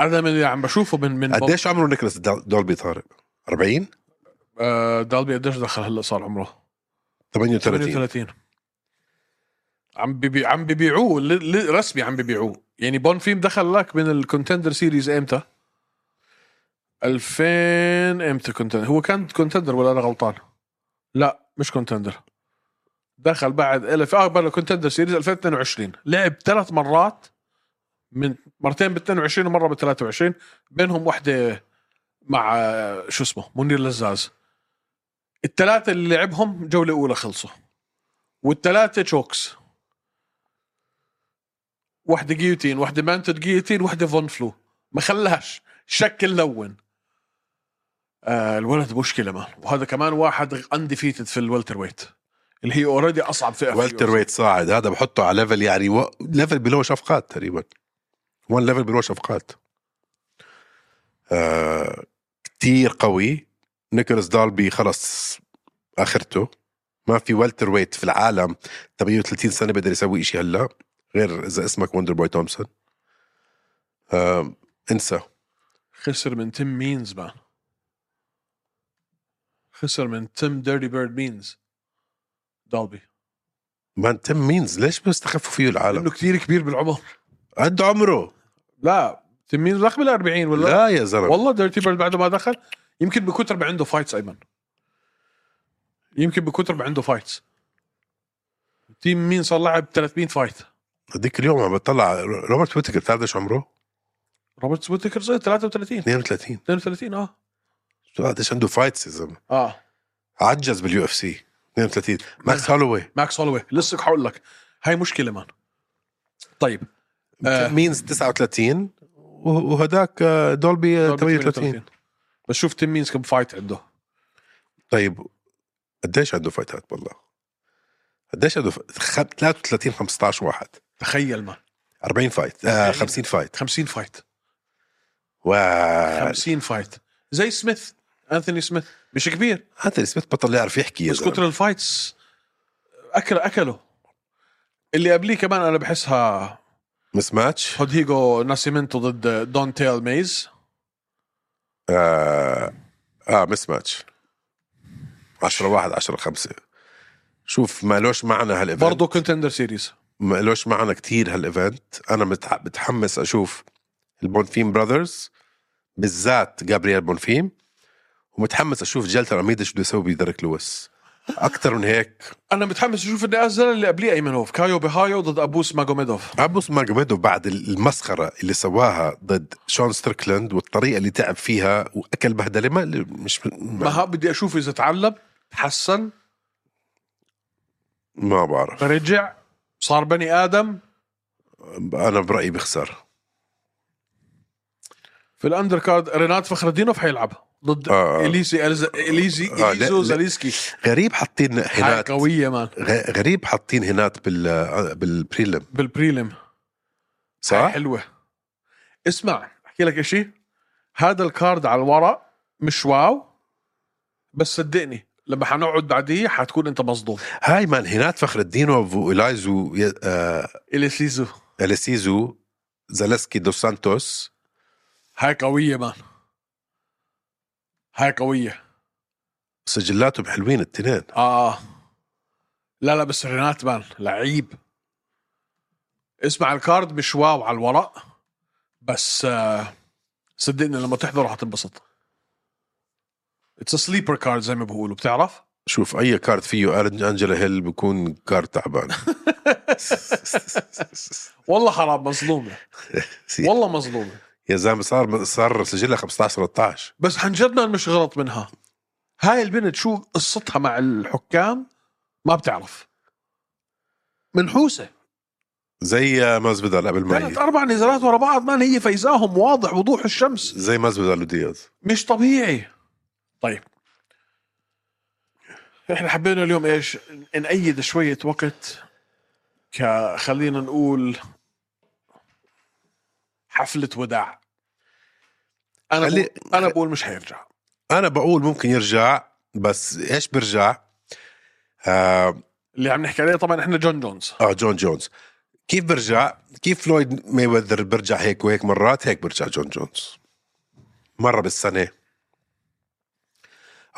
Speaker 2: انا من اللي عم بشوفه من من
Speaker 1: قديش عمره نيكولاس دال- دولبي طارق؟ 40
Speaker 2: آه، دالبي قديش دخل هلا صار عمره
Speaker 1: 38
Speaker 2: 38 عم ببي عم ببيعوه ل- ل- رسمي عم ببيعوه يعني بونفيم دخل لك من الكونتندر سيريز امتى 2000 امتى كونتندر هو كان كونتندر ولا انا غلطان لا مش كونتندر دخل بعد الف اه بلا كونتندر سيريز 2022 لعب ثلاث مرات من مرتين بال 22 ومره بال 23 بينهم وحده مع آه، شو اسمه منير لزاز الثلاثه اللي لعبهم جوله اولى خلصوا والثلاثه تشوكس واحده جيوتين واحده مانتد جيوتين واحده فون فلو ما خلاش شكل لون آه الولد مشكله ما وهذا كمان واحد انديفيتد في الوالتر ويت اللي هي اوريدي اصعب فئه في
Speaker 1: والتر ويت صاعد هذا بحطه على ليفل يعني و... ليفل بلو شفقات تقريبا وان ليفل بلو شفقات آه... كتير قوي نيكولاس دالبي خلص اخرته ما في والتر ويت في العالم 38 سنه بيقدر يسوي شيء هلا غير اذا اسمك وندر بوي تومسون آه... انسى
Speaker 2: خسر من تيم مينز مان خسر من تيم ديرتي بيرد مينز دالبي
Speaker 1: ما تم مينز ليش بيستخفوا فيه العالم
Speaker 2: لانه كثير كبير بالعمر
Speaker 1: قد عمره
Speaker 2: لا تيم مينز رقم ال 40 ولا
Speaker 1: لا يا زلمه
Speaker 2: والله ديرتي بيرد بعد ما دخل يمكن بيكون تربع عنده فايتس ايمن يمكن بيكون تربع عنده فايتس تيم مين صار لعب 300 فايت
Speaker 1: هذيك اليوم عم بطلع روبرت ويتكر بتعرف قديش عمره؟
Speaker 2: روبرت سبوتكر صار 33
Speaker 1: 32
Speaker 2: 32 اه
Speaker 1: بتعرف قديش عنده فايتس يا زلمه
Speaker 2: اه
Speaker 1: عجز باليو اف سي 32 ماكس
Speaker 2: آه.
Speaker 1: هولوي
Speaker 2: ماكس هولوي لسه حقول لك هاي مشكله مان طيب آه.
Speaker 1: مينز 39 وه- وهداك آه، دولبي آه، 38
Speaker 2: بس شوف تيم مينز كم فايت عنده
Speaker 1: طيب قديش عنده فايتات والله؟ قديش عنده ف- خ- 33 15 واحد
Speaker 2: تخيل مان
Speaker 1: 40 فايت آه 50 فايت
Speaker 2: 50 فايت
Speaker 1: و
Speaker 2: 50 فايت زي سميث انثوني سميث مش كبير
Speaker 1: هذا سميث بطل يعرف يحكي يا
Speaker 2: بس
Speaker 1: زلمه
Speaker 2: كتر الفايتس اكل اكله اللي قبليه كمان انا بحسها
Speaker 1: مس ماتش
Speaker 2: هوديجو ناسيمنتو ضد دون تيل ميز
Speaker 1: آه, اه مس ماتش 10 1 10 5 شوف ما لوش معنى هالايفنت
Speaker 2: برضه كونتندر سيريز
Speaker 1: ما لوش معنى كتير هالايفنت انا متح- متحمس اشوف البونفيم براذرز بالذات جابرييل بونفيم ومتحمس اشوف جلتر اميدا شو بده يسوي بديريك لويس اكثر من هيك
Speaker 2: انا متحمس اشوف النقاش زي اللي قبليه ايمنوف كايو بهايو ضد ابوس ماجوميدوف
Speaker 1: ابوس ماجميدوف بعد المسخره اللي سواها ضد شون ستريكلاند والطريقه اللي تعب فيها واكل بهدله ما مش
Speaker 2: ما
Speaker 1: ما,
Speaker 2: ها بدي اشوف اذا تعلم تحسن
Speaker 1: ما بعرف
Speaker 2: رجع صار بني ادم
Speaker 1: انا برايي بخسر
Speaker 2: في الاندر كارد رينات فخر الدينوف حيلعب ضد
Speaker 1: آه.
Speaker 2: اليزي اليزي اليزي
Speaker 1: آه، لا-
Speaker 2: اليزو
Speaker 1: لا.
Speaker 2: زاليسكي
Speaker 1: غريب حاطين
Speaker 2: هاي
Speaker 1: هنات
Speaker 2: قويه مان
Speaker 1: غ- غريب حاطين هنات بال بالبريلم
Speaker 2: بالبريلم هاي
Speaker 1: صح؟
Speaker 2: حلوه اسمع احكي لك اشي هذا الكارد على الورق مش واو بس صدقني لما حنقعد بعديه حتكون انت مصدوم
Speaker 1: هاي مان هنات فخر الدينوف وايلايزو ي- آه،
Speaker 2: اليسيزو
Speaker 1: اليسيزو زالسكي دو سانتوس
Speaker 2: هاي قويه مان هاي قويه
Speaker 1: سجلاتهم حلوين التنين
Speaker 2: اه لا لا بس رينات مان لعيب اسمع الكارد مش واو على الورق بس آه صدقني لما تحضره حتنبسط اتس سليبر كارد زي ما بقولوا بتعرف
Speaker 1: شوف اي كارت فيه أرن- انجلا هيل بكون كارت تعبان [laughs]
Speaker 2: والله حرام مظلومه والله مظلومه
Speaker 1: يا زلمه صار صار سجلها 15 13
Speaker 2: بس عن جد ما مش غلط منها هاي البنت شو قصتها مع الحكام ما بتعرف منحوسه
Speaker 1: زي مازبدال قبل ما
Speaker 2: ثلاث
Speaker 1: ي-
Speaker 2: اربع نزالات ورا بعض ما هي فايزاهم واضح وضوح الشمس
Speaker 1: زي مازبدال ودياز
Speaker 2: مش طبيعي طيب احنا حبينا اليوم ايش نأيد شويه وقت ك خلينا نقول حفله وداع انا
Speaker 1: خلي-
Speaker 2: بقول انا بقول مش حيرجع
Speaker 1: انا بقول ممكن يرجع بس ايش بيرجع؟ آه,
Speaker 2: اللي عم نحكي عليه طبعا احنا جون جونز
Speaker 1: اه جون جونز كيف برجع؟ كيف فلويد ميوذر برجع هيك وهيك مرات هيك برجع جون جونز مره بالسنه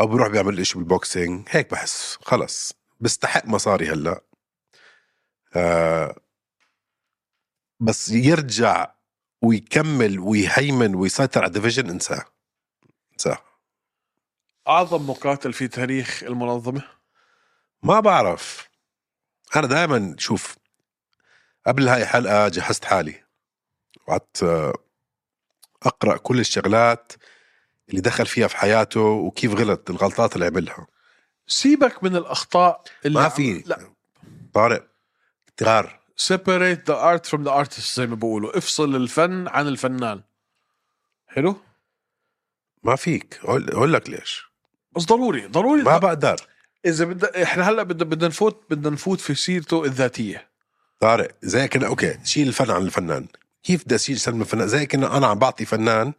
Speaker 1: او بروح بيعمل إشي بالبوكسينج هيك بحس خلص بستحق مصاري هلا آه بس يرجع ويكمل ويهيمن ويسيطر على ديفيجن انساه انساه
Speaker 2: اعظم مقاتل في تاريخ المنظمه
Speaker 1: ما بعرف انا دائما شوف قبل هاي الحلقه جهزت حالي وقعدت آه، اقرا كل الشغلات اللي دخل فيها في حياته وكيف غلط الغلطات اللي عملها
Speaker 2: سيبك من الاخطاء اللي
Speaker 1: ما
Speaker 2: عم-
Speaker 1: في
Speaker 2: لا
Speaker 1: طارق تغار
Speaker 2: separate the art from the artist زي ما بيقولوا افصل الفن عن الفنان حلو
Speaker 1: ما فيك اقول أقول لك ليش
Speaker 2: بس ضروري ضروري
Speaker 1: ما بقدر
Speaker 2: اذا بدنا احنا هلا بدنا بدنا نفوت بدنا نفوت في سيرته الذاتيه
Speaker 1: طارق زي كنا اوكي شيل الفن عن الفنان كيف بدي اشيل سلم الفنان زي كنا انا عم بعطي فنان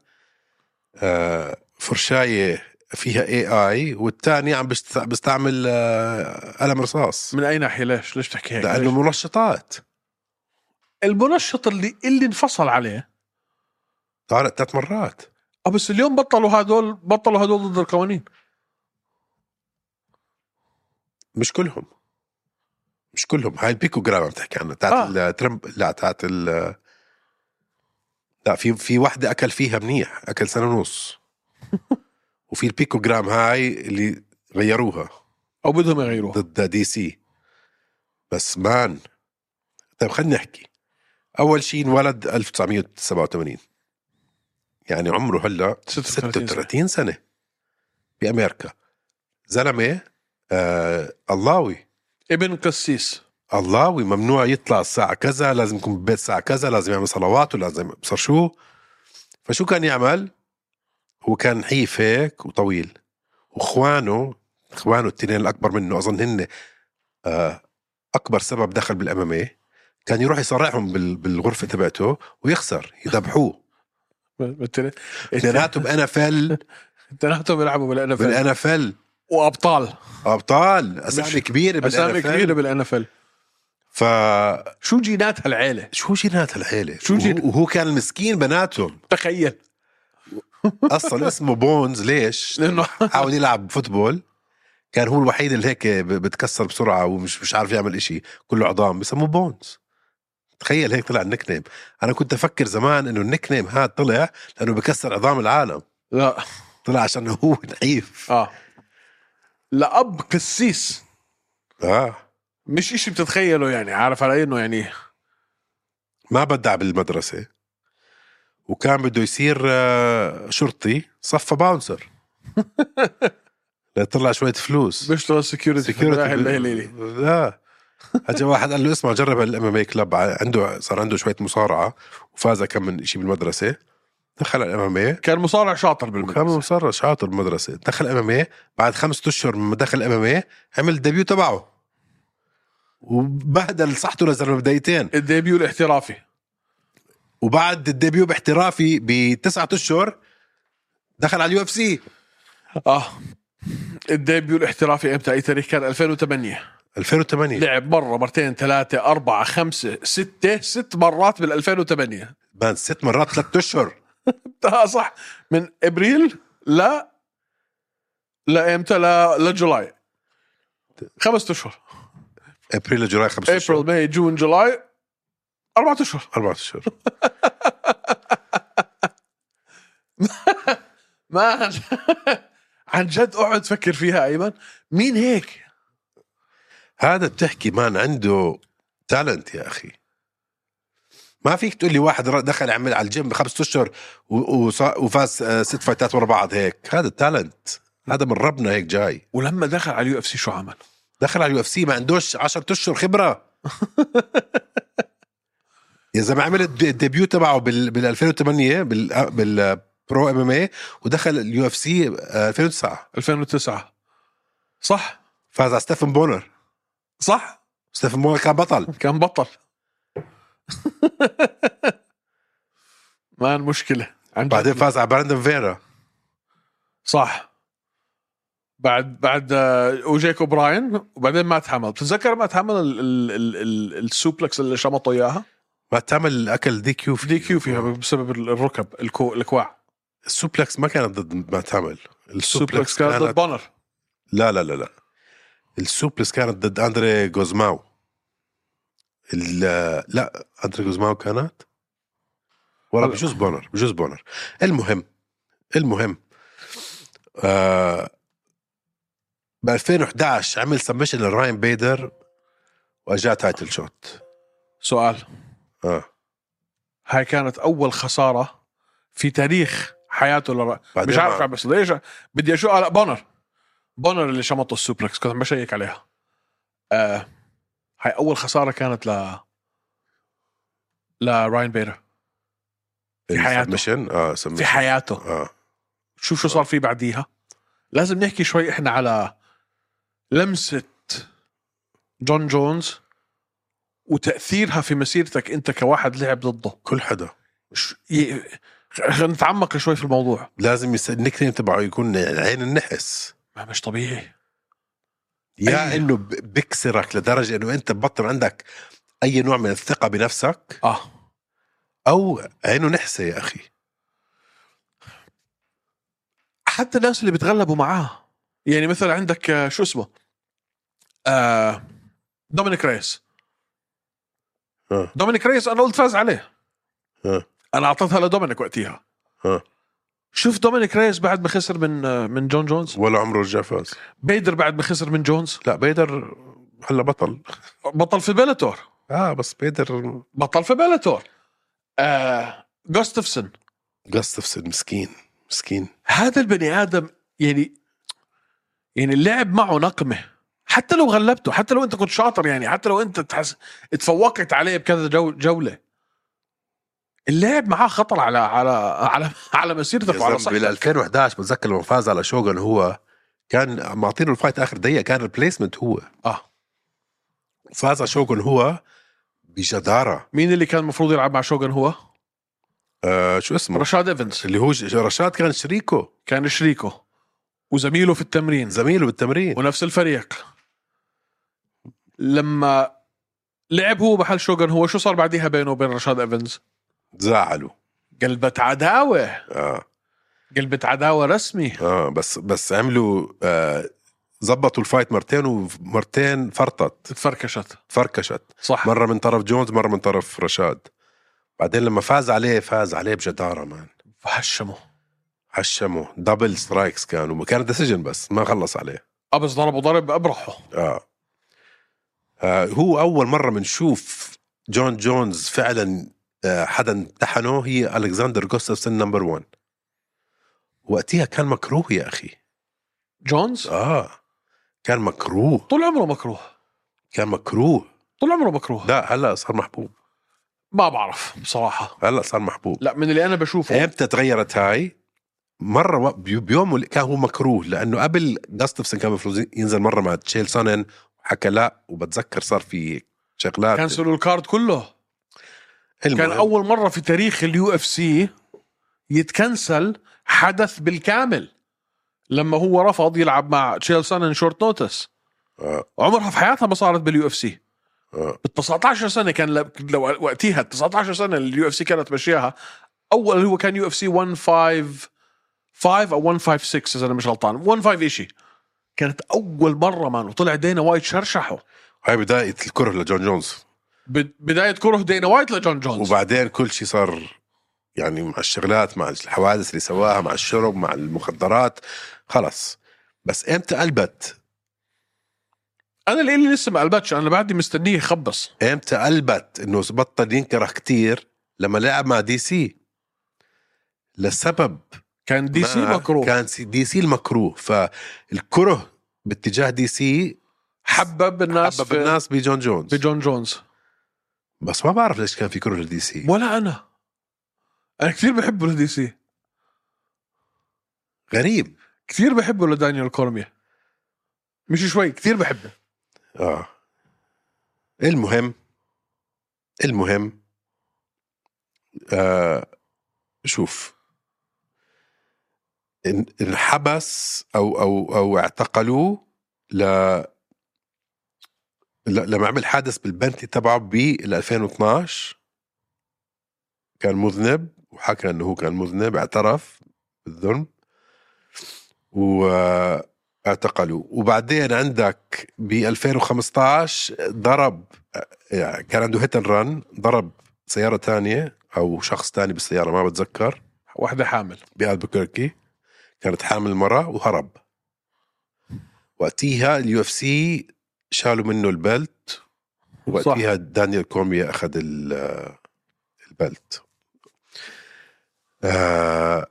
Speaker 1: آه فرشايه فيها اي اي والثاني عم بست- بستعمل آه قلم رصاص
Speaker 2: من اي ناحيه ليش ليش تحكي هيك ليش؟
Speaker 1: لانه منشطات
Speaker 2: المنشط اللي اللي انفصل عليه
Speaker 1: طارق ثلاث مرات
Speaker 2: اه بس اليوم بطلوا هدول بطلوا هدول ضد القوانين
Speaker 1: مش كلهم مش كلهم هاي البيكو جرام عم تحكي عنها تاعت
Speaker 2: آه.
Speaker 1: آه. الترمب لا تاعت ال لا في في وحده اكل فيها منيح اكل سنه ونص وفي البيكو جرام هاي اللي غيروها
Speaker 2: او بدهم يغيروها
Speaker 1: ضد دي سي بس مان طيب خلينا نحكي اول شيء انولد 1987 يعني عمره هلا
Speaker 2: 36 سنة.
Speaker 1: 36 سنه بامريكا زلمه آه الله
Speaker 2: ابن قسيس
Speaker 1: اللهوي ممنوع يطلع الساعة كذا لازم يكون بالبيت الساعة كذا لازم يعمل صلواته لازم ابصر شو فشو كان يعمل هو كان حيف هيك وطويل واخوانه اخوانه التنين الاكبر منه اظن هن آه، اكبر سبب دخل بالامامية كان يروح يصارعهم بال- بالغرفة تبعته ويخسر يذبحوه اثنيناتهم بانفل
Speaker 2: اثنيناتهم بيلعبوا [laughs] بالان
Speaker 1: بالانفل
Speaker 2: وابطال
Speaker 1: ابطال اسامي كبيره
Speaker 2: اسامي كبيره
Speaker 1: بالانفل
Speaker 2: بالان اف ال
Speaker 1: فشو
Speaker 2: شو جينات هالعيله
Speaker 1: جينات هالعيله
Speaker 2: شو
Speaker 1: وهو-
Speaker 2: جين-
Speaker 1: وهو كان المسكين بناتهم
Speaker 2: تخيل
Speaker 1: اصلا اسمه بونز
Speaker 2: [laughs]
Speaker 1: ليش؟
Speaker 2: لانه
Speaker 1: حاول يلعب فوتبول كان هو الوحيد اللي هيك ب- بتكسر بسرعه ومش مش عارف يعمل إشي كله عظام بسموه بونز تخيل هيك طلع النك نيم انا كنت افكر زمان انه النك نيم هذا طلع لانه بكسر عظام العالم
Speaker 2: لا
Speaker 1: طلع عشان هو نحيف
Speaker 2: اه لاب قسيس
Speaker 1: اه
Speaker 2: مش اشي بتتخيله يعني عارف علي انه يعني
Speaker 1: ما بدع بالمدرسه وكان بده يصير آه، شرطي صفى باونسر ليطلع شويه فلوس
Speaker 2: بيشتغل سكيورتي في الملاهي
Speaker 1: بال-
Speaker 2: الليلي
Speaker 1: لا اجى واحد قال له اسمع جرب الام ام اي كلب عنده صار عنده شويه مصارعه وفاز كم من شيء بالمدرسه دخل الام ام اي
Speaker 2: كان مصارع شاطر
Speaker 1: كان
Speaker 2: بالمدرسه
Speaker 1: مصارع شاطر بالمدرسه دخل الام ام بعد خمسة اشهر من ما دخل الام ام عمل الديبيو تبعه وبهدل صحته لزلمه بدايتين
Speaker 2: الديبيو الاحترافي
Speaker 1: وبعد الديبيو باحترافي بتسعة اشهر دخل على اليو اف سي
Speaker 2: اه
Speaker 1: آه.
Speaker 2: الديبيو الاحترافي امتى اي تاريخ كان 2008
Speaker 1: 2008
Speaker 2: لعب مره مرتين ثلاثه اربعه خمسه سته ست مرات بال 2008
Speaker 1: بان ست مرات ثلاث اشهر
Speaker 2: آه، صح من ابريل ل لامتى ل لجولاي خمسة اشهر
Speaker 1: ابريل جولاي خمسة اشهر
Speaker 2: ابريل ماي جون جولاي أربعة اشهر
Speaker 1: أربعة اشهر
Speaker 2: ما
Speaker 1: [laughs]
Speaker 2: عن جد اقعد فكر فيها ايمن مين هيك؟
Speaker 1: هذا بتحكي مان عنده تالنت يا اخي ما فيك تقول لي واحد را- دخل عمل على الجيم بخمسة اشهر و- وصا- وفاز آه، ست فايتات ورا بعض هيك هذا تالنت هذا من ربنا هيك جاي
Speaker 2: ولما دخل على اليو اف سي شو عمل؟
Speaker 1: دخل على اليو اف سي ما عندوش 10 اشهر خبره يا زلمه عمل الد- الديبيو تبعه بال بال 2008 بال بالبرو ام ام اي ودخل اليو اف سي آه، 2009
Speaker 2: 2009 صح
Speaker 1: فاز على ستيفن بونر
Speaker 2: صح
Speaker 1: ستيفن بونر كان بطل [laughs]
Speaker 2: كان بطل مان مشكله عن جد.
Speaker 1: بعدين فاز على براندن فيرا
Speaker 2: صح بعد بعد آه، وجيك اوبراين وبعدين ما تحمل بتتذكر ما تحمل ال- ال- ال- ال- السوبلكس اللي شمطوا اياها
Speaker 1: ما تعمل اكل دي كيو في
Speaker 2: دي كيو فيها
Speaker 1: آه.
Speaker 2: بسبب الركب الكو الكواع
Speaker 1: السوبلكس ما كانت ضد ما تعمل
Speaker 2: السوبلكس
Speaker 1: السوبلكس
Speaker 2: كانت ضد
Speaker 1: كانت
Speaker 2: بانر
Speaker 1: لا لا لا لا السوبلكس كانت ضد اندري جوزماو ال- لا اندري جوزماو كانت ولا
Speaker 2: هلا.
Speaker 1: بجوز بونر بجوز بونر المهم المهم آه ب 2011 عمل سبمشن لراين بيدر واجاه تايتل شوت
Speaker 2: سؤال
Speaker 1: اه
Speaker 2: هاي كانت اول خساره في تاريخ حياته لر...
Speaker 1: بعدين
Speaker 2: مش عارف
Speaker 1: ما-
Speaker 2: عم بس ليش بدي اشوف هلا بونر بونر اللي شمطوا السوبلكس كنت عم بشيك عليها آه هاي اول خساره كانت ل لراين بيرر في حياته.
Speaker 1: submission. اه
Speaker 2: في
Speaker 1: submission.
Speaker 2: حياته
Speaker 1: اه
Speaker 2: شوف شو صار فيه بعديها لازم نحكي شوي احنا على لمسه جون جونز وتاثيرها في مسيرتك انت كواحد لعب ضده
Speaker 1: كل حدا
Speaker 2: ش- ي- خلينا نتعمق شوي في الموضوع
Speaker 1: لازم يس... النيك نيم تبعه يكون عين النحس
Speaker 2: ما مش طبيعي
Speaker 1: يا
Speaker 2: أيوة.
Speaker 1: انه ب- بكسرك لدرجه انه انت ببطل عندك اي نوع من الثقه بنفسك
Speaker 2: اه
Speaker 1: او عينه نحسه يا اخي
Speaker 2: حتى الناس اللي بتغلبوا معاه يعني مثلا عندك آه، شو اسمه آه دومينيك ريس
Speaker 1: آه.
Speaker 2: دومينيك ريس انا قلت فاز عليه
Speaker 1: آه.
Speaker 2: انا اعطيتها لدومينيك وقتها
Speaker 1: آه.
Speaker 2: شوف دومينيك ريس بعد ما خسر من آه، من جون جونز
Speaker 1: ولا عمره رجع فاز
Speaker 2: بيدر بعد ما خسر من جونز
Speaker 1: لا بيدر هلا بطل
Speaker 2: بطل في بيلاتور
Speaker 1: اه بس بيدر
Speaker 2: بطل في بيلاتور آه جوستفسون
Speaker 1: جاستفسن مسكين مسكين
Speaker 2: هذا البني ادم يعني يعني اللعب معه نقمه حتى لو غلبته حتى لو انت كنت شاطر يعني حتى لو انت تحس تفوقت عليه بكذا جو جوله اللعب معاه خطر على على على على مسيرتك وعلى
Speaker 1: بال
Speaker 2: صحتك
Speaker 1: 2011 بتذكر لما فاز على شوغن هو كان معطينه الفايت اخر دقيقه كان البليسمنت هو
Speaker 2: اه
Speaker 1: فاز على شوغن هو بجداره
Speaker 2: مين اللي كان المفروض يلعب مع شوغن هو؟
Speaker 1: آه شو اسمه
Speaker 2: رشاد ايفنز
Speaker 1: اللي هو ج- رشاد كان شريكه
Speaker 2: كان شريكه وزميله في التمرين
Speaker 1: زميله بالتمرين
Speaker 2: ونفس الفريق لما لعب هو محل شوغن هو شو صار بعديها بينه وبين رشاد ايفنز؟
Speaker 1: زعلوا
Speaker 2: قلبت عداوه
Speaker 1: اه
Speaker 2: قلبت عداوه رسمي
Speaker 1: اه بس بس عملوا آه زبطوا الفايت مرتين ومرتين فرطت
Speaker 2: تفركشت
Speaker 1: فركشت
Speaker 2: صح
Speaker 1: مره من طرف جونز مره من طرف رشاد بعدين لما فاز عليه فاز عليه بجداره مان
Speaker 2: هشمه
Speaker 1: هشمه دبل سترايكس كانوا كانت ديسيجن بس ما خلص عليه
Speaker 2: ابس ضربه ضرب ابرحه
Speaker 1: آه. آه هو اول مره بنشوف جون جونز فعلا آه حدا امتحنه هي الكسندر جوستفسون نمبر 1 وقتها كان مكروه يا اخي
Speaker 2: جونز
Speaker 1: اه كان مكروه
Speaker 2: طول عمره مكروه
Speaker 1: كان مكروه
Speaker 2: طول عمره مكروه
Speaker 1: لا هلا صار محبوب
Speaker 2: ما بعرف بصراحه
Speaker 1: هلا صار محبوب
Speaker 2: لا من اللي انا بشوفه
Speaker 1: امتى تغيرت هاي؟ مره و- بي- بيوم ول- كان هو مكروه لانه قبل جاستفسن كان المفروض ينزل مره مع تشيل سونن وحكى لا وبتذكر صار في شغلات
Speaker 2: كانسلوا الكارد كله كان
Speaker 1: المهم.
Speaker 2: اول مره في تاريخ اليو اف سي يتكنسل حدث بالكامل لما هو رفض يلعب مع تشيل سانن شورت نوتس
Speaker 1: آه.
Speaker 2: عمرها في حياتها ما صارت باليو اف سي
Speaker 1: آه.
Speaker 2: بال 19 سنه كان لو- لو وقتها ال 19 سنه اللي اليو اف سي كانت ماشياها اول اللي هو كان يو اف سي 155 او 156 اذا انا مش غلطان 15 شيء كانت اول مره مان وطلع دينا وايت شرشحه
Speaker 1: هاي بدايه الكره لجون جونز
Speaker 2: بد- بدايه كره دينا وايت لجون جونز
Speaker 1: وبعدين كل شيء صار يعني مع الشغلات مع الحوادث اللي سواها مع الشرب مع المخدرات خلص بس امتى قلبت
Speaker 2: انا اللي اللي لسه ما قلبتش انا بعدي مستنيه يخبص
Speaker 1: امتى قلبت انه بطل ينكره كتير لما لعب مع دي سي لسبب
Speaker 2: كان دي سي
Speaker 1: ما-
Speaker 2: مكروه
Speaker 1: كان سي- دي سي المكروه فالكره باتجاه دي سي
Speaker 2: حبب الناس
Speaker 1: حبب الناس بجون جونز
Speaker 2: في جون جونز
Speaker 1: بس ما بعرف ليش كان في كره لدي سي
Speaker 2: ولا انا انا كثير بحبه لدي سي
Speaker 1: غريب
Speaker 2: كثير بحبه لدانيال كورميا مش شوي كثير بحبه
Speaker 1: اه المهم المهم آه شوف ان- انحبس او او او اعتقلوه ل ل- لما عمل حادث بالبنتلي تبعه ب 2012 كان مذنب وحكى انه هو كان مذنب اعترف بالذنب واعتقلوا وبعدين عندك ب 2015 ضرب يعني كان عنده هيت رن ضرب سيارة تانية أو شخص تاني بالسيارة ما بتذكر
Speaker 2: واحده حامل
Speaker 1: بألبكركي كانت حامل مرة وهرب وقتيها اليو اف سي شالوا منه البلت وقتيها دانيال كوميا أخذ ال- البلت آه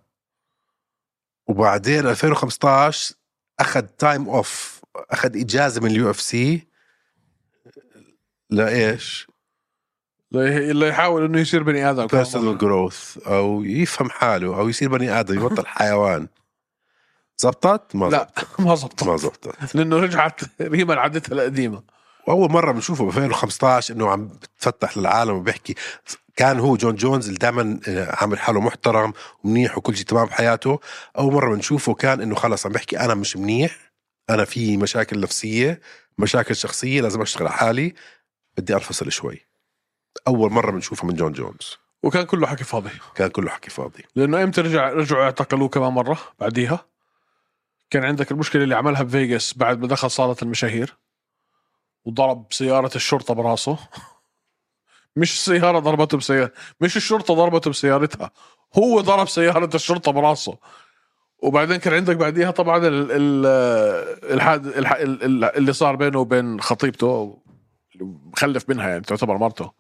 Speaker 1: وبعدين 2015 أخذ تايم أوف أخذ إجازة من اليو اف سي لإيش؟
Speaker 2: لا- لا يحاول انه يصير بني ادم
Speaker 1: بيرسونال جروث او يفهم حاله او يصير بني ادم يبطل حيوان زبطت؟ ما
Speaker 2: لا [laughs] ما زبط
Speaker 1: زبطت. ما زبطت
Speaker 2: لانه رجعت ريما لعادتها القديمه
Speaker 1: واول مره بنشوفه ب 2015 انه عم بتفتح للعالم وبيحكي كان هو جون جونز اللي دائما عامل حاله محترم ومنيح وكل شيء تمام بحياته اول مره بنشوفه كان انه خلص عم بحكي انا مش منيح انا في مشاكل نفسيه مشاكل شخصيه لازم اشتغل على حالي بدي انفصل شوي اول مره بنشوفه من جون جونز
Speaker 2: وكان كله حكي فاضي
Speaker 1: كان كله حكي فاضي
Speaker 2: لانه امتى رجع رجعوا اعتقلوه كمان مره بعديها كان عندك المشكله اللي عملها بفيغاس بعد ما دخل صاله المشاهير وضرب سياره الشرطه براسه [laughs] مش السياره ضربته بسياره مش الشرطه ضربته بسيارتها هو ضرب سياره الشرطه براسه وبعدين كان عندك بعديها طبعا ال- ال- الحاد الح- ال- ال- اللي صار بينه وبين خطيبته اللي مخلف منها يعني تعتبر مرته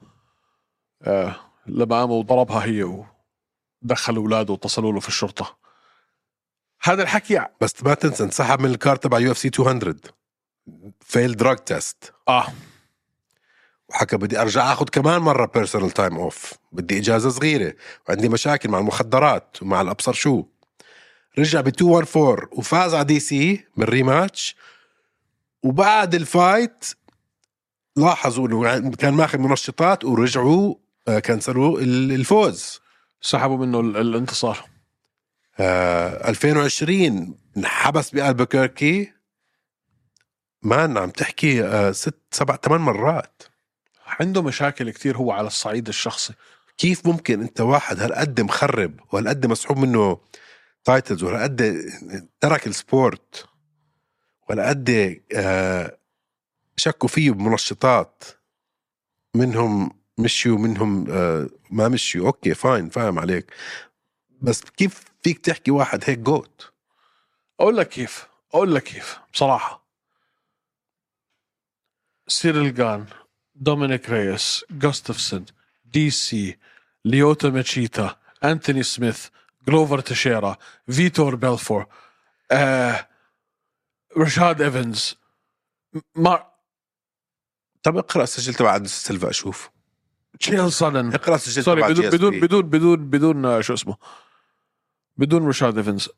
Speaker 2: آه، لما قام وضربها هي ودخل اولاده واتصلوا له في الشرطه هذا الحكي
Speaker 1: بس ما تنسى انسحب من الكار تبع يو اف سي 200 فيل دراج تيست
Speaker 2: اه
Speaker 1: وحكى بدي ارجع اخذ كمان مره بيرسونال تايم اوف بدي اجازه صغيره وعندي مشاكل مع المخدرات ومع الابصر شو رجع ب 214 وفاز على دي سي بالريماتش وبعد الفايت لاحظوا انه كان ماخذ منشطات ورجعوا آه، كنسلوا ال- الفوز
Speaker 2: سحبوا منه ال- الانتصار
Speaker 1: آه 2020 انحبس بالبكيركي مان عم تحكي آه ست سبع ثمان مرات
Speaker 2: عنده مشاكل كتير هو على الصعيد الشخصي
Speaker 1: كيف ممكن انت واحد هالقد مخرب وهالقد مسحوب منه تايتلز وهالقد ترك السبورت وهالقد آه، شكوا فيه بمنشطات منهم مشيوا منهم آه، ما مشيوا اوكي فاين فاهم عليك بس كيف فيك تحكي واحد هيك جوت
Speaker 2: اقول لك كيف اقول لك كيف بصراحه سيريل جان دومينيك ريس جوستفسون دي سي ليوتا ماتشيتا انتوني سميث جلوفر تشيرا فيتور بيلفور آه، رشاد ايفنز مار
Speaker 1: طب اقرا السجل تبع أندرسون سيلفا اشوف
Speaker 2: تشيل سالن
Speaker 1: اقرا السجل
Speaker 2: سوري
Speaker 1: تبع
Speaker 2: بدون
Speaker 1: GSP.
Speaker 2: بدون بدون بدون بدون آه، شو اسمه بدون رشاد ايفنز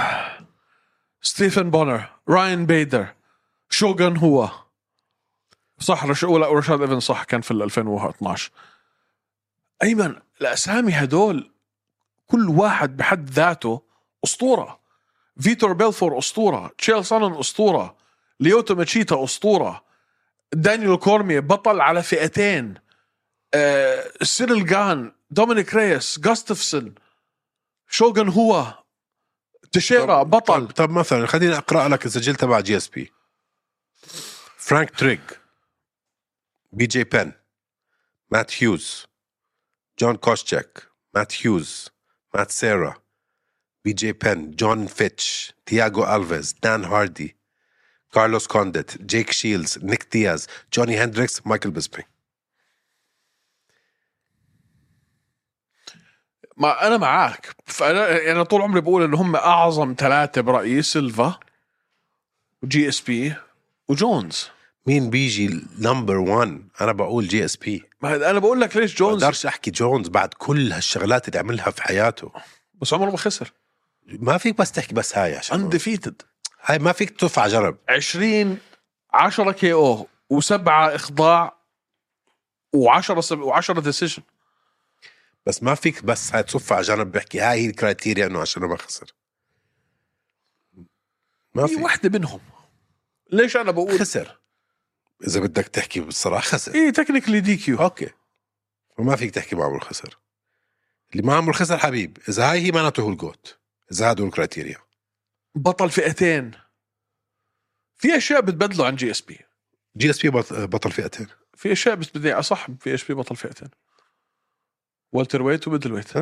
Speaker 2: [sighs] ستيفن بونر راين بيدر شوغان هو صح رش... ولا رشاد ايفنز صح كان في ال 2012 ايمن الاسامي هدول كل واحد بحد ذاته اسطوره فيتور بيلفور اسطوره تشيل سالن اسطوره ليوتو ماتشيتا اسطوره دانيال كورمي بطل على فئتين آه، سيريل جان دومينيك ريس جاستفسن شوغن هو تشيرا
Speaker 1: طب-
Speaker 2: بطل
Speaker 1: طب, طب مثلا خليني اقرا لك السجل تبع جي اس بي فرانك تريج بي جي بن مات هيوز جون كوشتشك مات هيوز مات سيرا بي جي بن جون فيتش تياغو الفيز دان هاردي كارلوس كونديت جيك شيلز نيك دياز جوني هندريكس مايكل بيسبي
Speaker 2: ما انا معاك فانا انا طول عمري بقول ان هم اعظم ثلاثه برايي سيلفا وجي اس بي وجونز
Speaker 1: مين بيجي نمبر 1 انا بقول جي اس بي
Speaker 2: ما هاد- انا بقول لك ليش جونز
Speaker 1: بقدرش احكي جونز بعد كل هالشغلات اللي عملها في حياته
Speaker 2: بس عمره ما خسر
Speaker 1: ما فيك بس تحكي بس هاي عشان
Speaker 2: انديفيتد
Speaker 1: هاي ما فيك تطف على جرب
Speaker 2: 20 10 كي او وسبعه اخضاع و10 سب... و10 ديسيشن
Speaker 1: بس ما فيك بس هاي تصف على جنب بحكي هاي هي الكرايتيريا انه عشان ما خسر ما
Speaker 2: هي
Speaker 1: في
Speaker 2: واحده منهم ليش انا بقول
Speaker 1: خسر اذا بدك تحكي بالصراحه خسر
Speaker 2: ايه تكنيكلي دي كيو
Speaker 1: اوكي فما فيك تحكي معمر خسر اللي معمر خسر حبيب اذا هاي هي معناته هو الجوت اذا هذا هو الكرايتيريا
Speaker 2: بطل فئتين في اشياء بتبدله عن جي اس بي
Speaker 1: جي اس بي بطل فئتين
Speaker 2: في اشياء بس بدي اصح في اشي بي بطل فئتين والتر ويت وميدل ويت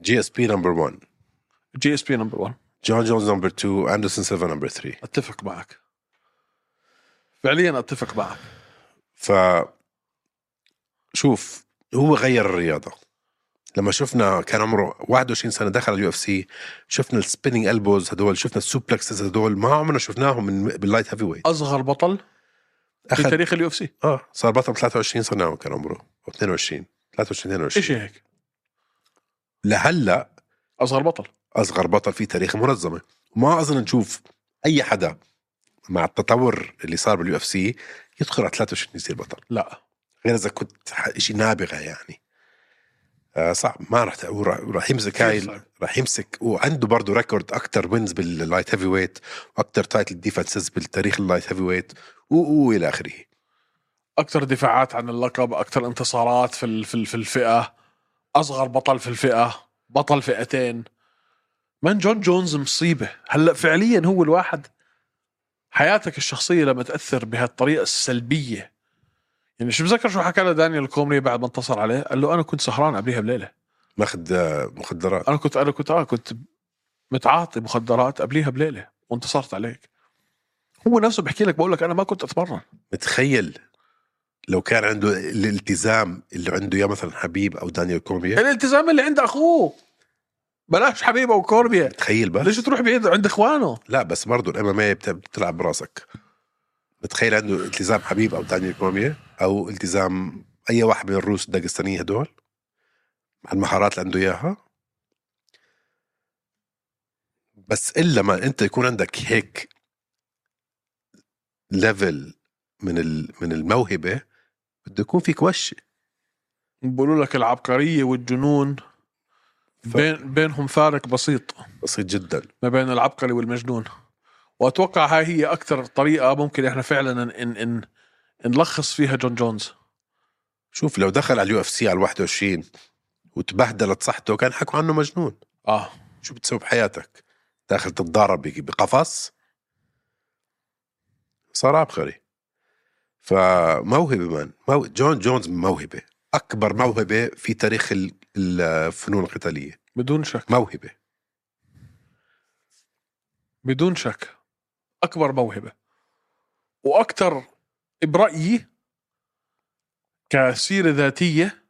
Speaker 1: جي اس بي نمبر 1
Speaker 2: جي اس بي نمبر 1
Speaker 1: جون جونز نمبر 2 اندرسون سيلفا نمبر 3
Speaker 2: اتفق معك فعليا اتفق معك
Speaker 1: ف شوف هو غير الرياضه لما شفنا كان عمره 21 سنه دخل اليو اف سي شفنا السبيننج البوز هدول شفنا السوبلكسز هدول ما عمرنا شفناهم من باللايت هيفي ويت
Speaker 2: اصغر بطل في
Speaker 1: اخذ
Speaker 2: تاريخ اليو اف سي
Speaker 1: اه صار بطل 23 سنه كان عمره او 22 23 22
Speaker 2: شيء هيك
Speaker 1: لهلا
Speaker 2: اصغر بطل
Speaker 1: اصغر بطل في تاريخ منظمه وما اظن نشوف اي حدا مع التطور اللي صار باليو اف سي يدخل على 23 يصير بطل
Speaker 2: لا
Speaker 1: غير اذا كنت ح- شيء نابغه يعني آه صعب ما راح هو راح- راح يمسك
Speaker 2: كثير
Speaker 1: هاي
Speaker 2: صعب.
Speaker 1: راح يمسك وعنده برضه ريكورد اكثر وينز باللايت هيفي ويت واكثر تايتل ديفنسز بالتاريخ اللايت هيفي ويت و- والى اخره
Speaker 2: اكثر دفاعات عن اللقب اكثر انتصارات في ال- في ال- في الفئه اصغر بطل في الفئه بطل فئتين من جون جونز مصيبه هلا فعليا هو الواحد حياتك الشخصيه لما تاثر بهالطريقه السلبيه يعني شو بذكر شو حكى له دانيال كومري بعد ما انتصر عليه قال له انا كنت سهران قبليها بليله
Speaker 1: ماخذ آه، مخدرات
Speaker 2: انا كنت انا كنت اه كنت متعاطي مخدرات قبليها بليله وانتصرت عليك هو نفسه بحكي لك بقول لك انا ما كنت اتمرن
Speaker 1: متخيل لو كان عنده الالتزام اللي عنده اياه مثلا حبيب او دانيال
Speaker 2: إيه؟
Speaker 1: كورميا
Speaker 2: الالتزام اللي عند اخوه بلاش حبيبه وكوربيا
Speaker 1: تخيل بس
Speaker 2: ليش تروح بعيد عند اخوانه
Speaker 1: لا بس برضه الام ام اي إيه بتلعب براسك بتخيل عنده التزام حبيب او دانيال كورميا او التزام اي واحد من الروس الداغستانيه هدول مع المهارات اللي عنده اياها بس الا ما انت يكون عندك هيك ليفل من ال- من الموهبه بده يكون فيك وش
Speaker 2: بقولوا لك العبقريه والجنون
Speaker 1: ف-
Speaker 2: بين بينهم فارق بسيط
Speaker 1: بسيط جدا
Speaker 2: ما بين العبقري والمجنون واتوقع هاي هي اكثر طريقه ممكن احنا فعلا ان ان, إن نلخص فيها جون جونز
Speaker 1: شوف لو دخل على اليو اف سي على 21 وتبهدلت صحته كان حكوا عنه مجنون
Speaker 2: اه
Speaker 1: شو بتسوي بحياتك داخل تتضارب بك- بقفص صار عبقري فموهبة من مو... جون جونز موهبة أكبر موهبة في تاريخ ال- الفنون القتالية
Speaker 2: بدون شك
Speaker 1: موهبة
Speaker 2: بدون شك اكبر موهبه واكثر برايي كسيره ذاتيه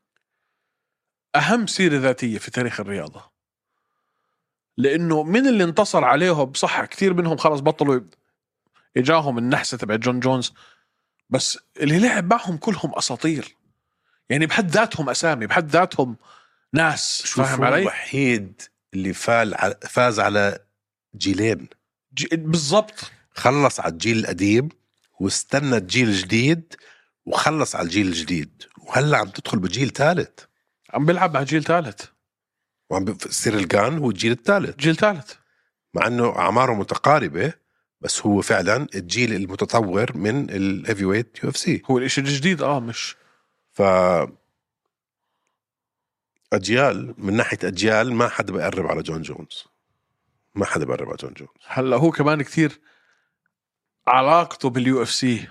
Speaker 2: اهم سيره ذاتيه في تاريخ الرياضه لانه من اللي انتصر عليهم صح كثير منهم خلص بطلوا يب- اجاهم النحسه تبع جون جونز بس اللي لعب معهم كلهم اساطير يعني بحد ذاتهم اسامي بحد ذاتهم ناس
Speaker 1: شوف
Speaker 2: فاهم
Speaker 1: هو
Speaker 2: علي؟
Speaker 1: الوحيد اللي فال على... فاز على جيلين
Speaker 2: ج- بالضبط
Speaker 1: خلص على الجيل القديم واستنى الجيل الجديد وخلص على الجيل الجديد وهلا عم تدخل بجيل ثالث
Speaker 2: عم بيلعب مع جيل ثالث
Speaker 1: وعم بصير الجان هو الجيل الثالث
Speaker 2: جيل ثالث
Speaker 1: مع انه اعماره متقاربه بس هو فعلا الجيل المتطور من الهيفي ويت يو اف سي
Speaker 2: هو الاشي الجديد اه مش
Speaker 1: ف اجيال من ناحيه اجيال ما حدا بقرب على جون جونز ما حدا بقرب على جون جونز
Speaker 2: هلا هو كمان كثير علاقته باليو اف سي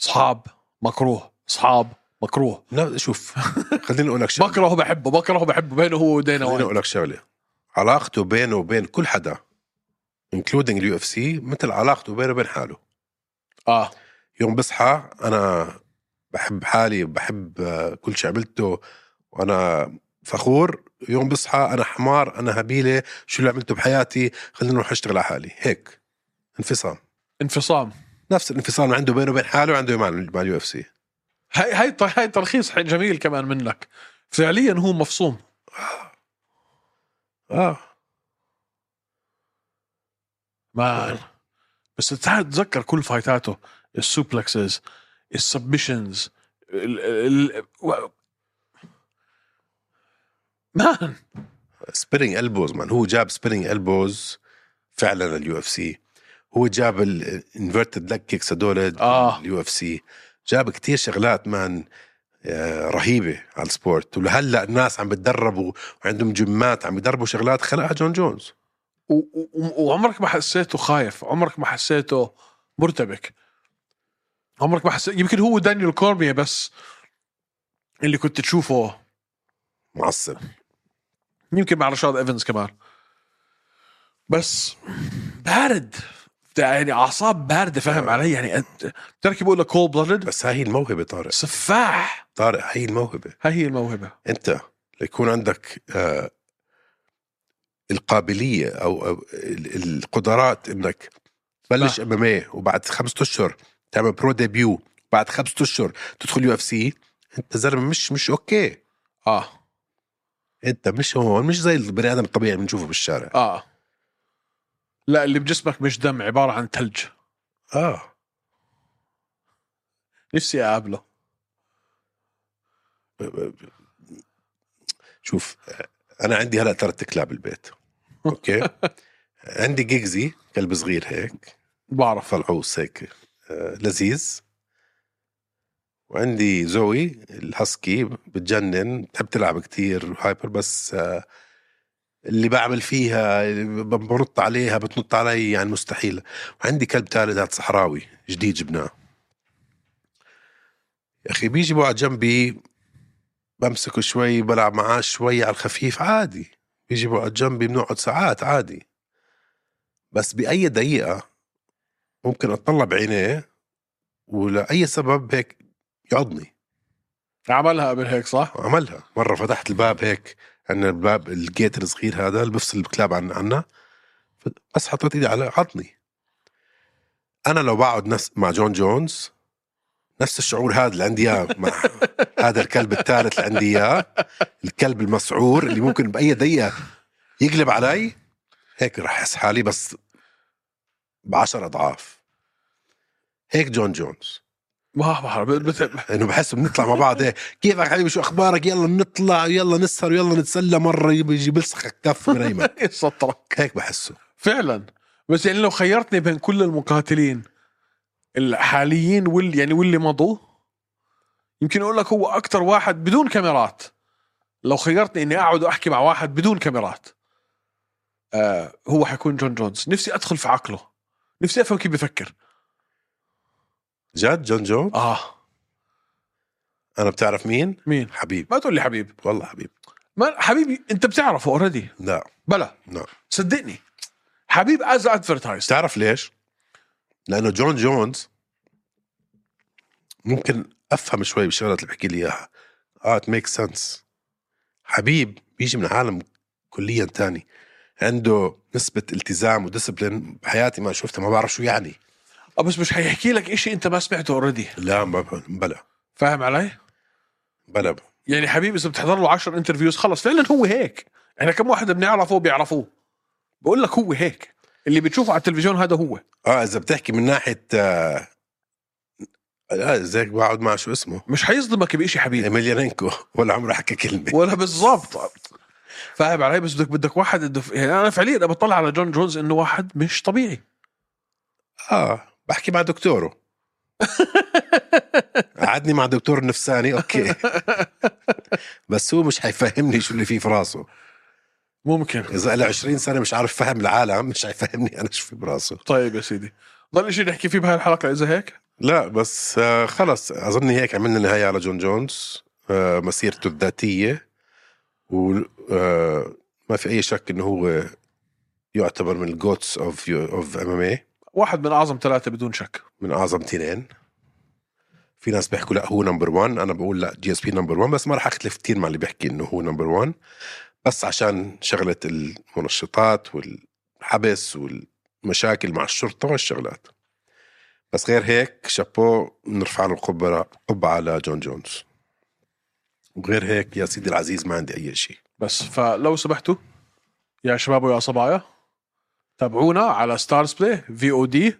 Speaker 2: اصحاب مكروه اصحاب مكروه
Speaker 1: لا شوف [laughs] خليني اقول لك [laughs] شغله
Speaker 2: بكرهه بحبه بكرهه بحبه بينه هو ودينا
Speaker 1: خليني
Speaker 2: وايت
Speaker 1: اقول لك شغله علاقته بينه وبين كل حدا انكلودينج اليو اف سي مثل علاقته بينه وبين حاله
Speaker 2: اه
Speaker 1: يوم بصحى انا بحب حالي بحب آه، كل شيء عملته وانا فخور يوم بصحى انا حمار انا هبيله شو اللي عملته بحياتي خليني اروح اشتغل على حالي هيك انفصام
Speaker 2: انفصام
Speaker 1: نفس الانفصام اللي عنده بينه وبين حاله عنده مع مع اليو اف سي
Speaker 2: هاي هاي هاي ترخيص حي- جميل كمان منك فعليا هو مفصوم
Speaker 1: آه. اه
Speaker 2: مان بس تعال تذكر كل فايتاته السوبلكسز السبشنز ال ال ال- مان
Speaker 1: سبيرنج البوز مان هو جاب سبيرنج البوز فعلا اليو اف سي هو جاب الانفيرتد لك كيكس هدول
Speaker 2: آه.
Speaker 1: اليو اف سي جاب كتير شغلات مان آه، رهيبه على السبورت ولهلا الناس عم بتدربوا وعندهم جمات عم يدربوا شغلات خلقها جون جونز
Speaker 2: و- و- وعمرك ما حسيته خايف عمرك ما حسيته مرتبك عمرك ما حسيت يمكن هو دانيال كورميا بس اللي كنت تشوفه
Speaker 1: معصب
Speaker 2: يمكن مع رشاد ايفنز كمان بس بارد يعني اعصاب بارده فاهم علي يعني أنت- بتعرف كيف بقول لك كول بلادد
Speaker 1: بس هاي هي الموهبه طارق
Speaker 2: سفاح
Speaker 1: طارق هاي هي الموهبه
Speaker 2: هاي هي الموهبه
Speaker 1: انت ليكون عندك آه، القابليه او أو ال- القدرات انك تبلش ام ام وبعد خمسة اشهر تعمل برو ديبيو بعد خمسة اشهر تدخل يو اف سي انت زلمه مش مش اوكي
Speaker 2: اه
Speaker 1: انت مش هون مش زي البني ادم الطبيعي اللي بنشوفه بالشارع
Speaker 2: اه لا اللي بجسمك مش دم عباره عن ثلج
Speaker 1: اه
Speaker 2: نفسي اقابله
Speaker 1: شوف آه، انا عندي هلا ثلاث كلاب بالبيت اوكي عندي جيجزي كلب صغير هيك
Speaker 2: بعرف
Speaker 1: فلعوص هيك آه، لذيذ وعندي زوي الهسكي بتجنن بتحب تلعب كتير هايبر بس آه، اللي بعمل فيها اللي ب- بنط عليها بتنط علي يعني مستحيل عندي كلب ثالث هذا صحراوي جديد جبناه يا اخي بيجي بقعد جنبي بمسكه شوي بلعب معاه شوي على الخفيف عادي بيجي بقعد جنبي بنقعد ساعات عادي بس بأي دقيقة ممكن أطلع بعينيه ولأي سبب هيك يعضني
Speaker 2: عملها قبل هيك صح؟
Speaker 1: عملها مره فتحت الباب هيك عندنا الباب الجيت الصغير هذا اللي بفصل الكلاب عن عنا ف- بس حطيت ايدي على عطني انا لو بقعد نفس مع جون جونز نفس الشعور هذا اللي عندي اياه مع هذا الكلب الثالث اللي عندي اياه الكلب المسعور اللي ممكن باي دقيقه يقلب علي هيك رح احس حالي بس بعشر اضعاف هيك جون جونز
Speaker 2: ما بعرف بت-
Speaker 1: انه بحس بنطلع مع بعض هيك كيفك حبيبي شو اخبارك يلا بنطلع يلا نسهر يلا نتسلى مره يجي بلصقك كف من ايمن
Speaker 2: بت- سطرك
Speaker 1: هيك بحسه
Speaker 2: فعلا بس يعني لو خيرتني بين كل المقاتلين الحاليين واللي يعني واللي مضوا يمكن اقول لك هو اكثر واحد بدون كاميرات لو خيرتني اني اقعد واحكي مع واحد بدون كاميرات آه هو حيكون جون جونز نفسي ادخل في عقله نفسي افهم كيف بفكر
Speaker 1: جد جون جون
Speaker 2: اه
Speaker 1: انا بتعرف مين
Speaker 2: مين
Speaker 1: حبيب
Speaker 2: ما تقول لي حبيب
Speaker 1: والله حبيب
Speaker 2: ما حبيبي انت بتعرفه اوريدي
Speaker 1: لا
Speaker 2: بلا
Speaker 1: لا
Speaker 2: صدقني حبيب از ادفرتايز
Speaker 1: بتعرف ليش لانه جون جونز ممكن افهم شوي بالشغلات اللي بحكي لي اياها اه ميك سنس حبيب بيجي من عالم كليا تاني عنده نسبة التزام وديسبلين بحياتي ما شفتها ما بعرف شو يعني
Speaker 2: آه، بس مش هيحكي لك إشي انت ما سمعته اوريدي
Speaker 1: لا ما بلا
Speaker 2: فاهم علي؟
Speaker 1: بلا
Speaker 2: يعني حبيبي اذا بتحضر له 10 انترفيوز خلص فعلا هو هيك احنا كم واحد بنعرفه بيعرفوه بقول لك هو هيك اللي بتشوفه على التلفزيون هذا هو
Speaker 1: اه اذا بتحكي من ناحيه آه لا زيك بقعد مع شو اسمه
Speaker 2: مش حيصدمك بشيء حبيبي
Speaker 1: مليانينكو [laughs] ولا عمره حكى كلمه
Speaker 2: ولا بالضبط فاهم علي بس بدك بدك واحد الدف... يعني انا فعليا انا بطلع على جون جونز انه واحد مش طبيعي
Speaker 1: اه بحكي مع دكتوره قعدني مع دكتور نفساني اوكي بس هو مش حيفهمني شو اللي فيه في راسه
Speaker 2: ممكن
Speaker 1: اذا له 20 سنه مش عارف فهم العالم مش حيفهمني انا شو في براسه
Speaker 2: طيب يا سيدي ضل شيء نحكي فيه بهاي الحلقه اذا هيك
Speaker 1: لا بس آه خلص اظني هيك عملنا نهايه على جون جونز آه مسيرته الذاتيه و آه ما في اي شك انه هو يعتبر من الجوتس اوف اوف ام ام
Speaker 2: واحد من اعظم ثلاثه بدون شك
Speaker 1: من اعظم تنين في ناس بيحكوا لا هو نمبر 1 انا بقول لا جي اس بي نمبر 1 بس ما راح اختلف كثير مع اللي بيحكي انه هو نمبر 1 بس عشان شغله المنشطات والحبس والمشاكل مع الشرطه والشغلات بس غير هيك شابو بنرفع له القبعه قبعه على جون جونز وغير هيك يا سيدي العزيز ما عندي اي شيء
Speaker 2: بس فلو سمحتوا يا شباب ويا صبايا تابعونا على ستارز بلاي في او دي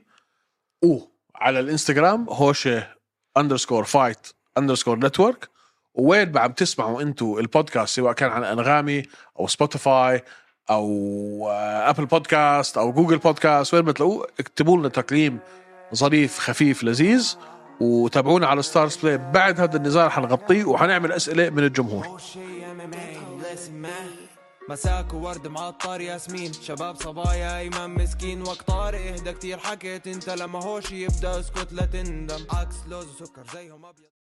Speaker 2: او على الانستغرام هوشه اندرسكور فايت اندرسكور نتورك وين بقى عم تسمعوا انتوا البودكاست سواء كان على انغامي او سبوتيفاي او آه، ابل بودكاست او جوجل بودكاست وين ما تلاقوه اكتبوا لنا تقييم ظريف خفيف لذيذ وتابعونا على ستارز بلاي بعد هذا النزال حنغطيه وحنعمل اسئله من الجمهور
Speaker 3: شي ام ام اي مساك وورد معطر ياسمين شباب صبايا ايمن مسكين وقت طارق اهدى كتير حكيت انت لما هوش يبدا اسكت لا تندم عكس لوز وسكر زيهم ابيض